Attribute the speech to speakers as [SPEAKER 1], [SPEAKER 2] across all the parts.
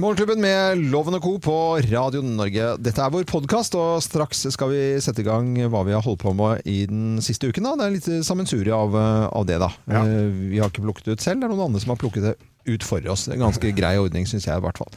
[SPEAKER 1] Morgenklubben med Loven og Co. på Radio Norge. Dette er vår podkast, og straks skal vi sette i gang hva vi har holdt på med i den siste uken. Da. Det er litt sammensurie av, av det, da.
[SPEAKER 2] Ja.
[SPEAKER 1] Eh, Vi har ikke plukket det ut selv, det er noen andre som har plukket det ut for oss. Det er en ganske grei ordning, syns jeg i hvert fall.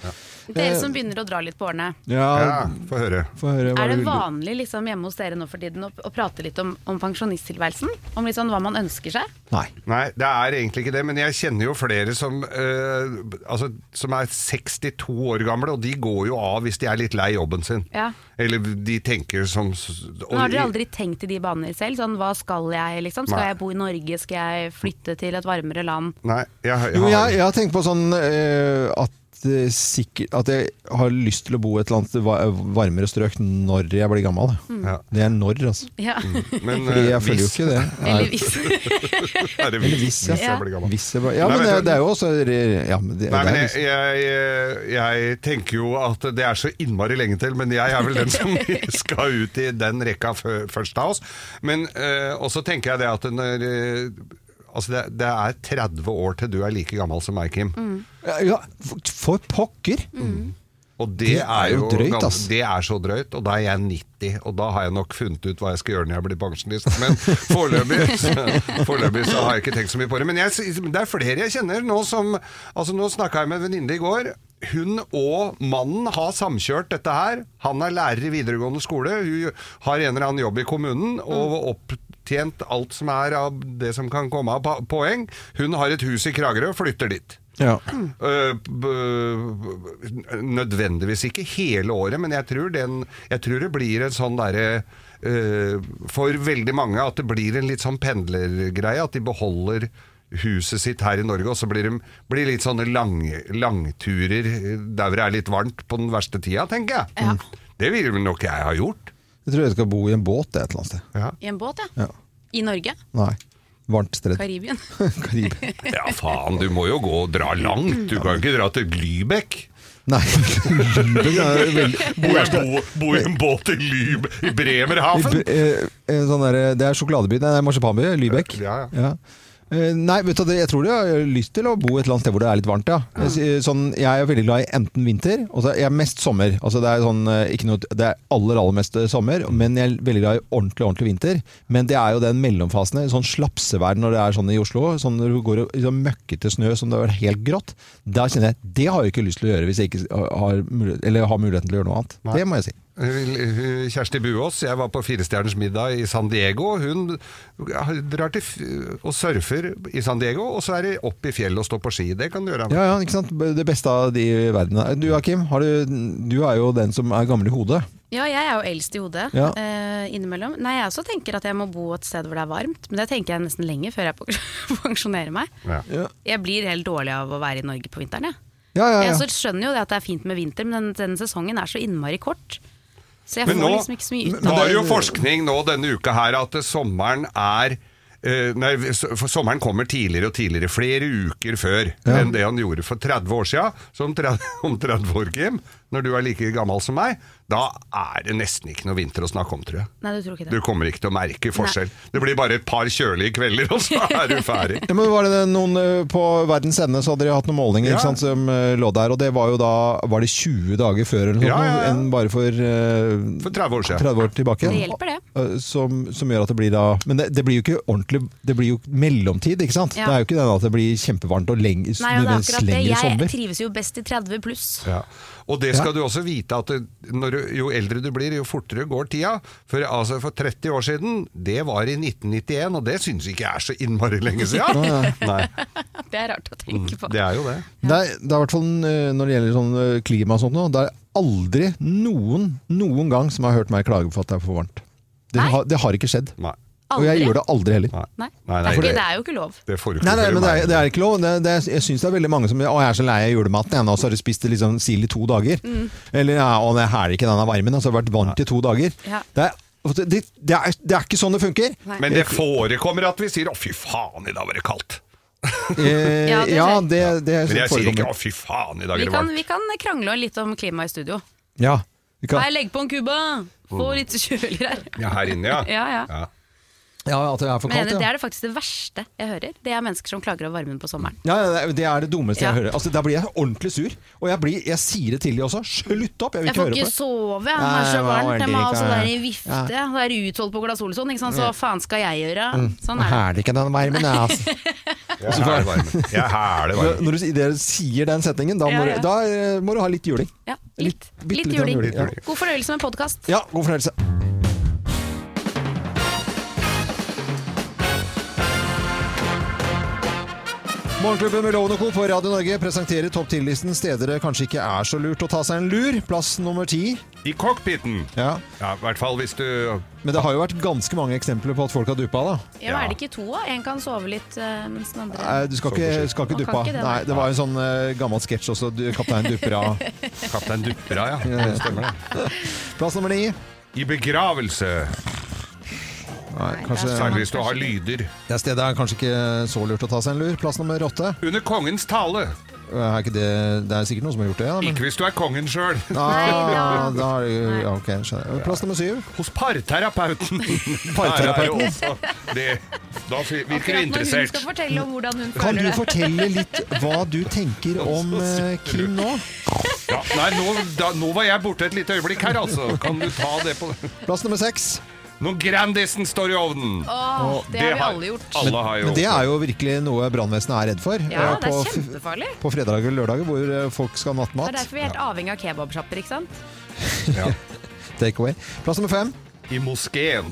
[SPEAKER 3] Dere som begynner å dra litt på årene.
[SPEAKER 2] Ja, få høre.
[SPEAKER 1] Få høre hva
[SPEAKER 3] Er det
[SPEAKER 1] du lurer-
[SPEAKER 3] vanlig liksom, hjemme hos dere nå for tiden å, å prate litt om, om pensjonisttilværelsen? Om litt sånn hva man ønsker seg?
[SPEAKER 1] Nei.
[SPEAKER 2] Nei, det er egentlig ikke det, men jeg kjenner jo flere som, eh, altså, som er 62 år gamle, og de går jo av hvis de er litt lei jobben sin.
[SPEAKER 3] Ja.
[SPEAKER 2] Eller de tenker som og,
[SPEAKER 3] Men har dere aldri tenkt i de baner selv? Sånn, hva skal jeg, liksom? Skal
[SPEAKER 2] Nei.
[SPEAKER 3] jeg bo i Norge? Skal jeg flytte til et varmere land?
[SPEAKER 2] Nei, jeg, jeg,
[SPEAKER 1] Jo,
[SPEAKER 2] har-
[SPEAKER 1] jeg, jeg har tenkt på sånn eh, at eh, sikkert, at jeg har lyst til å bo et eller annet va- varmere strøk når jeg blir gammel.
[SPEAKER 3] Mm.
[SPEAKER 2] Ja.
[SPEAKER 1] Det er når, altså.
[SPEAKER 3] Ja.
[SPEAKER 2] men,
[SPEAKER 1] Fordi
[SPEAKER 2] eh,
[SPEAKER 1] jeg følger jo
[SPEAKER 2] hvis-
[SPEAKER 1] ikke det.
[SPEAKER 3] Eller hvis
[SPEAKER 2] Er det
[SPEAKER 1] Eller
[SPEAKER 2] hvis-
[SPEAKER 1] hvis, ja.
[SPEAKER 2] hvis jeg blir gammel.
[SPEAKER 1] Hvis jeg bare, ja,
[SPEAKER 2] Nei,
[SPEAKER 1] men
[SPEAKER 2] vet
[SPEAKER 1] det,
[SPEAKER 2] du-
[SPEAKER 1] det er jo også ja, men det,
[SPEAKER 2] Nei,
[SPEAKER 1] det
[SPEAKER 2] men
[SPEAKER 1] er
[SPEAKER 2] jeg,
[SPEAKER 1] liksom-
[SPEAKER 2] jeg, jeg tenker jo at det er så innmari lenge til, men jeg er vel den som skal ut i den rekka fø- først av oss. Men eh, også tenker jeg det at når eh, Altså det, det er 30 år til du er like gammel som meg, Kim.
[SPEAKER 1] Mm. ja, for- For pokker!
[SPEAKER 2] Mm. Og det,
[SPEAKER 1] Det
[SPEAKER 2] er jo
[SPEAKER 1] drøyt,
[SPEAKER 2] gans-
[SPEAKER 1] ass.
[SPEAKER 2] Det er så drøyt, og da er jeg 90, og da har jeg nok funnet ut hva jeg skal gjøre når jeg blir pensjonist. Men foreløpig, så- foreløpig så har jeg ikke tenkt så mye på det. Men jeg, s- det er flere jeg kjenner nå som Altså Nå snakka jeg med en venninne i går. Hun og mannen har samkjørt dette her. Han er lærer i videregående skole. Hun har en eller annen jobb i kommunen og opptjent alt som er av det som kan komme av pa- poeng. Hun har et hus i Kragerø og flytter dit.
[SPEAKER 1] Ja.
[SPEAKER 2] Øh, b- Nødvendigvis ikke hele året, men jeg tror, den, jeg tror det blir en sånn derre øh, For veldig mange at det blir en litt sånn pendlergreie. At de beholder huset sitt her i Norge, og så blir det blir litt sånne lang, langturer eh, der hvor det er litt varmt på den verste tida, tenker jeg.
[SPEAKER 3] Ja.
[SPEAKER 2] Det ville nok jeg ha gjort.
[SPEAKER 1] Jeg tror jeg skal bo i en båt det, et eller annet sted.
[SPEAKER 3] I en båt, ja.
[SPEAKER 1] Ja.
[SPEAKER 3] I Norge.
[SPEAKER 1] Nei. Varmt sted.
[SPEAKER 3] Karibien.
[SPEAKER 1] Karib.
[SPEAKER 2] Ja, faen, du må jo gå og dra langt. Du kan jo ikke dra til Lybekk.
[SPEAKER 1] Nei. Lübeck er veldig
[SPEAKER 2] Bor jeg bo, bo i en båt i Lyb... I Bremerhaven?
[SPEAKER 1] I- eh, en sånn der, det er sjokoladeby, nei, det er marsipanby, Lybekk.
[SPEAKER 2] Ja, ja.
[SPEAKER 1] Eh, Nei, vet du, hva, det- jeg tror du har lyst til å bo et eller annet sted hvor det er litt varmt, ja. Jeg sier Sånn, jeg er veldig glad i enten vinter, og så er jeg mest sommer. Altså, det er sånn, eh, ikke noe, det er aller, aller mest eh, sommer, men jeg er veldig glad i ordentlig, ordentlig vinter. Men det er jo den mellomfasen, en sånn slapsevær når det er sånn i Oslo, sånn når du går og- i sånn møkkete snø som det er helt grått. Da kjenner jeg, det har jeg ikke lyst til å gjøre hvis jeg ikke har, mulighet, eller har muligheten til å gjøre noe annet. Det må jeg si.
[SPEAKER 2] Hun- Kjersti Buås, jeg var på Firestjerners middag i San Diego. Hun drar til f- og surfer i San Diego, og så er det opp i fjellet og stå på ski. Det kan du gjøre.
[SPEAKER 1] Ja, ja, ikke sant? Det beste av de verdenene. Du, Akim, har du, du er jo den som er gammel i hodet.
[SPEAKER 3] Ja, jeg er jo eldst i hodet
[SPEAKER 1] Ja.
[SPEAKER 3] eh, innimellom. Nei, jeg også tenker at jeg må bo et sted hvor det er varmt, men det tenker jeg nesten lenge før jeg pensjonerer meg.
[SPEAKER 2] Ja.
[SPEAKER 1] Ja,
[SPEAKER 3] Jeg blir helt dårlig av å være i Norge på vinteren, jeg.
[SPEAKER 1] ja, ja.
[SPEAKER 3] Jeg så skjønner jo det at det er fint med vinter, men den, denne sesongen er så innmari kort. Så jeg
[SPEAKER 2] Men
[SPEAKER 3] får
[SPEAKER 2] nå-
[SPEAKER 3] liksom ikke så mye ut
[SPEAKER 2] Nå
[SPEAKER 3] av
[SPEAKER 2] har
[SPEAKER 3] det.
[SPEAKER 2] jo forskning nå denne uka her at sommeren er eh, Nei, for sommeren kommer tidligere og tidligere, flere uker før enn det han gjorde for 30 år siden. Så om 30, om 30 år, Kim, når du er like gammel som meg, da er det nesten ikke noe vinter å snakke om, tror jeg.
[SPEAKER 3] Nei, du tror ikke
[SPEAKER 2] Du
[SPEAKER 3] det.
[SPEAKER 2] kommer ikke til å merke forskjell. Det blir bare et par kjølige kvelder, og så er du ferdig.
[SPEAKER 1] Ja, men var det noen eh, På verdens ende så hadde de hatt noen målinger
[SPEAKER 2] Ja.
[SPEAKER 1] ikke sant, som eh, lå der, og det var jo da Var det 20 dager før eller noe
[SPEAKER 2] Ja,
[SPEAKER 1] sånt?
[SPEAKER 2] ja, ja.
[SPEAKER 1] Enn bare for, eh,
[SPEAKER 2] For 30 år siden.
[SPEAKER 1] 30 år tilbake?
[SPEAKER 3] Det hjelper, det.
[SPEAKER 1] Eh, Som, som gjør at det blir da Men det, det blir jo ikke ordentlig Det blir jo mellomtid, ikke sant?
[SPEAKER 3] Ja.
[SPEAKER 1] Det er jo ikke den at det blir kjempevarmt og leng,
[SPEAKER 3] Nei, og det er
[SPEAKER 1] nødvendigvis
[SPEAKER 3] akkurat det.
[SPEAKER 1] lengre
[SPEAKER 3] Jeg
[SPEAKER 1] sommer.
[SPEAKER 3] trives jo best i 30 pluss.
[SPEAKER 2] Ja. Og det skal du også vite at det- når, du- jo eldre du blir, jo fortere går tida. For, altså, for 30 år siden, det var i 1991, og det syns ikke jeg er så innmari lenge siden. Nei,
[SPEAKER 3] Det er rart å tenke på.
[SPEAKER 2] Mm, det er jo det.
[SPEAKER 1] Det er, det er i hvert fall eh, når det gjelder sånn eh, klima og sånt nå, det er aldri noen, noen gang som har hørt meg klage for at det er for varmt. Det,
[SPEAKER 3] Nei.
[SPEAKER 1] har- det har ikke skjedd.
[SPEAKER 2] Nei.
[SPEAKER 1] Og jeg
[SPEAKER 3] Aldri?
[SPEAKER 1] gjør det aldri heller.
[SPEAKER 2] Nei.
[SPEAKER 3] Nei,
[SPEAKER 2] Nei,
[SPEAKER 3] det,
[SPEAKER 2] nei,
[SPEAKER 3] er ikke,
[SPEAKER 2] det-
[SPEAKER 3] det er jo ikke lov.
[SPEAKER 2] Det får du ikke
[SPEAKER 1] Nei, nei,
[SPEAKER 2] til
[SPEAKER 1] men det er,
[SPEAKER 2] meg.
[SPEAKER 1] det er ikke lov. Det, det er, jeg syns det er veldig mange som Å, jeg er så lei av julematen, jeg nå, så har jeg spist liksom sild i to dager.
[SPEAKER 3] Mm.
[SPEAKER 1] Eller ja, å, jeg hæler ikke denne varmen, altså, jeg har vært vant i to dager.
[SPEAKER 3] Ja.
[SPEAKER 1] Det, er, altså, det, det, er, det er ikke sånn det funker.
[SPEAKER 3] Nei.
[SPEAKER 2] Men det forekommer at vi sier 'å, fy faen, i dag var det kaldt'.
[SPEAKER 1] Eh,
[SPEAKER 3] Ja, det
[SPEAKER 1] ja,
[SPEAKER 3] skjer.
[SPEAKER 1] det, det
[SPEAKER 2] Men jeg sier ikke
[SPEAKER 1] foregår.
[SPEAKER 2] 'å, fy faen, i dag er
[SPEAKER 3] Vi
[SPEAKER 2] det
[SPEAKER 3] kan,
[SPEAKER 2] varmt'.
[SPEAKER 3] vi kan krangle litt om klima i studio.
[SPEAKER 1] Ja, vi kan-
[SPEAKER 3] Nei, legg på en Cuba! Få litt kjøligere her.
[SPEAKER 2] Ja, her inne, ja.
[SPEAKER 3] Ja, ja.
[SPEAKER 2] Ja.
[SPEAKER 1] Ja, at det er for
[SPEAKER 3] Men
[SPEAKER 1] kaldt,
[SPEAKER 3] det
[SPEAKER 1] ja.
[SPEAKER 3] er det faktisk det verste jeg hører. Det er mennesker som klager over varmen på sommeren.
[SPEAKER 1] Ja, ja, det er- det er det dummeste jeg
[SPEAKER 3] Ja.
[SPEAKER 1] hører. Altså, da blir jeg ordentlig sur. Og jeg, blir, jeg sier det til de også. Slutt opp! Jeg vil
[SPEAKER 3] Jeg
[SPEAKER 1] ikke
[SPEAKER 3] får
[SPEAKER 1] høre på
[SPEAKER 3] ikke
[SPEAKER 1] det.
[SPEAKER 3] sove, jeg
[SPEAKER 1] Nei,
[SPEAKER 3] er så
[SPEAKER 1] det var
[SPEAKER 3] varmt. Jeg må ha
[SPEAKER 1] ordentlig
[SPEAKER 3] sånn der
[SPEAKER 1] ikke-
[SPEAKER 3] vifte. Det er utholdt på Ola Solsson, ikke sant? så hva faen skal jeg gjøre?
[SPEAKER 1] Mm.
[SPEAKER 3] Sånn er det.
[SPEAKER 1] Hæler ikke den varmen, jeg, altså.
[SPEAKER 2] Jeg hæler varmen. Jeg hæler
[SPEAKER 1] Når-
[SPEAKER 2] varmen.
[SPEAKER 1] Når du sier- dere sier den setningen, da må,
[SPEAKER 3] Ja, ja.
[SPEAKER 1] du- Da, eh, må du ha litt juling.
[SPEAKER 3] Ja, litt,
[SPEAKER 1] Litt- bitte
[SPEAKER 3] litt,
[SPEAKER 1] litt
[SPEAKER 3] juling.
[SPEAKER 1] juling, ja.
[SPEAKER 3] God fornøyelse med podkast.
[SPEAKER 1] Ja, god fornøyelse. Morgenklubben med Loven og Co. på Radio Norge presenterer topp 10-listen steder det kanskje ikke er så lurt å ta seg en lur. Plass nummer ti.
[SPEAKER 2] I cockpiten!
[SPEAKER 1] Ja.
[SPEAKER 2] Ja, i hvert fall hvis du
[SPEAKER 1] Men det har jo vært ganske mange eksempler på at folk har duppa, da.
[SPEAKER 3] Ja, Er det ikke to? da? En kan sove litt eh, mens den andre
[SPEAKER 1] Nei, du skal ikke, skal
[SPEAKER 3] Man
[SPEAKER 1] ikke
[SPEAKER 3] kan
[SPEAKER 1] duppe av.
[SPEAKER 3] ikke det,
[SPEAKER 1] Nei,
[SPEAKER 3] nei.
[SPEAKER 1] det var jo en sånn eh, gammel sketsj også. Du, kaptein dupper av.
[SPEAKER 2] Kaptein Duppera, ja. Det stemmer, det.
[SPEAKER 1] Plass nummer ni.
[SPEAKER 2] I begravelse.
[SPEAKER 1] Nei, kanskje
[SPEAKER 2] Særlig hvis du har lyder.
[SPEAKER 1] Det stedet er kanskje ikke så lurt å ta seg en lur. Plass nummer åtte. Eh,
[SPEAKER 2] Under kongens tale.
[SPEAKER 1] Er ikke det, det er sikkert noen som har gjort det. Da, men...
[SPEAKER 2] Ikke hvis du er kongen sjøl.
[SPEAKER 1] Ah,
[SPEAKER 3] Nei, da.
[SPEAKER 1] da er det jo ja, ok, skjønner. Plass nummer syv.
[SPEAKER 2] Hos parterapeuten.
[SPEAKER 1] Parterapeuten.
[SPEAKER 2] Der er jo også det. Da virker
[SPEAKER 3] Akkurat
[SPEAKER 2] du
[SPEAKER 3] når hun
[SPEAKER 2] interessert.
[SPEAKER 3] skal fortelle om hvordan hun
[SPEAKER 1] Kan du
[SPEAKER 3] føler det.
[SPEAKER 1] fortelle litt hva du tenker om eh, Kim nå?
[SPEAKER 2] Ja, nei, nå, da, nå var jeg borte et lite øyeblikk her, altså. Kan du ta det på
[SPEAKER 1] Plass nummer seks.
[SPEAKER 2] Når Grandisen står i ovnen.
[SPEAKER 3] Åh, det har vi alle gjort.
[SPEAKER 2] Alle har jo
[SPEAKER 1] Men det er jo virkelig noe brannvesenet er redd for.
[SPEAKER 3] Ja,
[SPEAKER 1] eh,
[SPEAKER 3] det er
[SPEAKER 1] på f-
[SPEAKER 3] kjempefarlig.
[SPEAKER 1] på fredager og lørdager hvor eh, folk skal ha
[SPEAKER 3] Det er
[SPEAKER 1] nattmat.
[SPEAKER 3] derfor vi er helt avhengig av kebabsjapper, ikke sant?
[SPEAKER 2] ja.
[SPEAKER 1] Take away. Plass nummer fem.
[SPEAKER 2] I moskeen.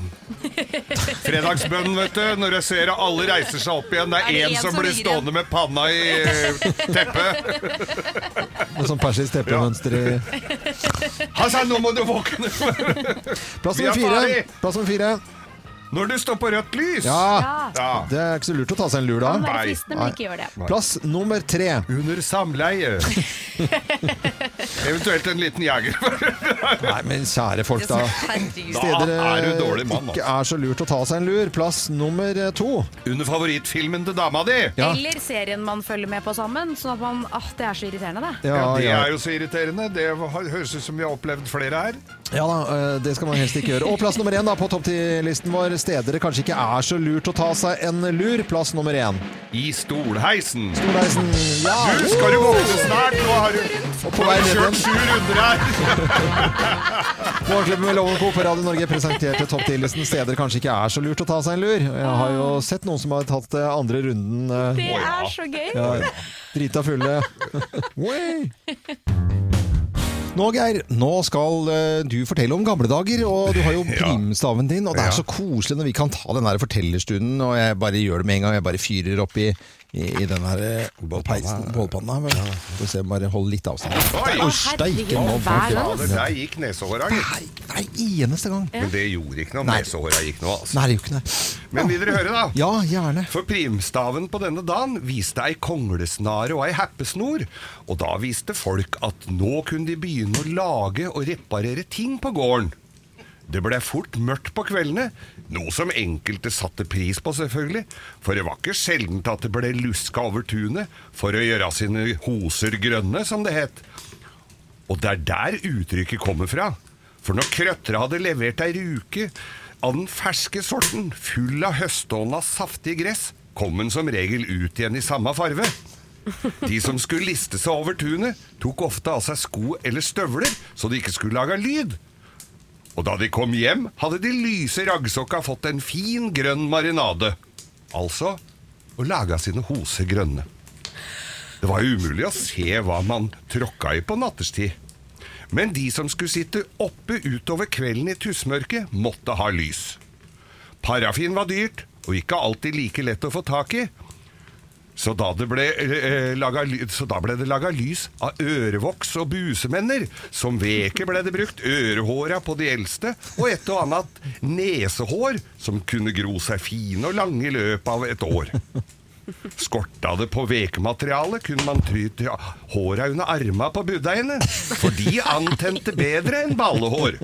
[SPEAKER 2] Fredagsbønnen, vet du. Når jeg ser at alle reiser seg opp igjen. Det er, én som,
[SPEAKER 3] ligger
[SPEAKER 2] blir
[SPEAKER 3] igjen?
[SPEAKER 2] stående med panna i eh, teppet.
[SPEAKER 1] Med sånn persisk teppemønster i
[SPEAKER 2] Hassan, nå må du våkne!
[SPEAKER 1] Plass nummer
[SPEAKER 2] Vi er
[SPEAKER 1] fire.
[SPEAKER 2] ferdig.
[SPEAKER 1] Plass nummer fire.
[SPEAKER 2] Når du står på rødt lys!
[SPEAKER 1] Ja,
[SPEAKER 3] Ja.
[SPEAKER 2] Ja.
[SPEAKER 1] det er ikke så lurt å ta seg en lur
[SPEAKER 3] Det
[SPEAKER 1] da.
[SPEAKER 3] kan være
[SPEAKER 2] Nei.
[SPEAKER 3] fristende, men ikke gjør det.
[SPEAKER 1] Plass nummer tre.
[SPEAKER 2] Under samleie. Eventuelt en liten jeger.
[SPEAKER 1] Nei, men kjære folk, da.
[SPEAKER 3] Herregud.
[SPEAKER 1] Steder
[SPEAKER 2] Da er du dårlig mann, altså.
[SPEAKER 1] ikke er så lurt å ta seg en lur. Plass nummer eh, to.
[SPEAKER 2] Under favorittfilmen til dama di!
[SPEAKER 1] Ja.
[SPEAKER 3] Eller serien man følger med på sammen. Sånn at man, ah, Det er så irriterende, det.
[SPEAKER 2] Ja,
[SPEAKER 1] Ja,
[SPEAKER 2] det
[SPEAKER 1] ja.
[SPEAKER 2] er jo så irriterende. Det har- høres ut som vi har opplevd flere her.
[SPEAKER 1] ja da, eh, det skal man helst ikke gjøre. Og plass nummer én da, på topp ti-listen vår. Steder det kanskje ikke er så lurt å ta seg en lur. Plass nummer én.
[SPEAKER 2] I stolheisen.
[SPEAKER 1] Storleisen. Ja!
[SPEAKER 2] Du skal du våkne snart! Nå har du
[SPEAKER 1] Og på vei ned
[SPEAKER 2] kjørt
[SPEAKER 1] igjen.
[SPEAKER 2] sju runder her!
[SPEAKER 1] Morgenklubben med Loven Co. på Radio Norge presenterte topp 10-listen steder det kanskje ikke er så lurt å ta seg en lur. Jeg har
[SPEAKER 3] Ah.
[SPEAKER 1] jo sett noen som har tatt eh, andre runden. eh,
[SPEAKER 3] Det
[SPEAKER 2] Å, ja.
[SPEAKER 3] er så gøy.
[SPEAKER 1] Ja, drita fulle. Oi. Nå, Geir, nå skal eh, du fortelle om gamle dager, og du har jo primstaven din. Og det
[SPEAKER 2] Ja.
[SPEAKER 1] er så koselig når vi kan ta den der fortellerstunden, og jeg bare gjør det med en gang. Jeg bare fyrer opp i, i, i den her eh, peisen bålpanna. Men, Får se, bare hold litt avstand.
[SPEAKER 2] Oi!
[SPEAKER 1] Å, steike nå,
[SPEAKER 3] hver
[SPEAKER 1] folk.
[SPEAKER 3] gang. altså.
[SPEAKER 2] Fader, der gikk nesehåra, gitt.
[SPEAKER 1] Nei, nei, eneste gang.
[SPEAKER 2] Men det gjorde ikke noe.
[SPEAKER 1] Nei.
[SPEAKER 2] Nesehåra gikk nå, altså.
[SPEAKER 1] Nei, det er jo ikke det.
[SPEAKER 2] Men vil dere høre, da?
[SPEAKER 1] Ja, gjerne.
[SPEAKER 2] For primstaven på denne dagen viste ei konglesnare og ei heppesnor, og da viste folk at nå kunne de begynne å lage og reparere ting på gården. Det ble fort mørkt på kveldene, noe som enkelte satte pris på selvfølgelig, for det var ikke sjeldent at det ble luska over tunet for å gjøre sine hoser grønne, som det het. Og det er der uttrykket kommer fra. For når krøttere hadde levert ei ruke av den ferske sorten, full av høståndas saftige gress, kom den som regel ut igjen i samme farve. De som skulle liste seg over tunet, tok ofte av seg sko eller støvler, så de ikke skulle lage lyd. Og da de kom hjem, hadde de lyse raggsokka fått en fin grønn marinade. Altså å laga sine hoser grønne. Det var jo umulig å se hva man tråkka i på nattestid. Men de som skulle sitte oppe utover kvelden i tussmørket, måtte ha lys. Parafin var dyrt, og ikke alltid like lett å få tak i. Så da, det ble, eh, laga, ly- så da ble det laga lys av ørevoks og busemenner. Som veke ble det brukt ørehåra på de eldste, og et og annet nesehår som kunne gro seg fine og lange i løpet av et år. Skorta det på vekematerialet, kunne man try til håra under arma på buddeiene, for de antente bedre enn ballehår.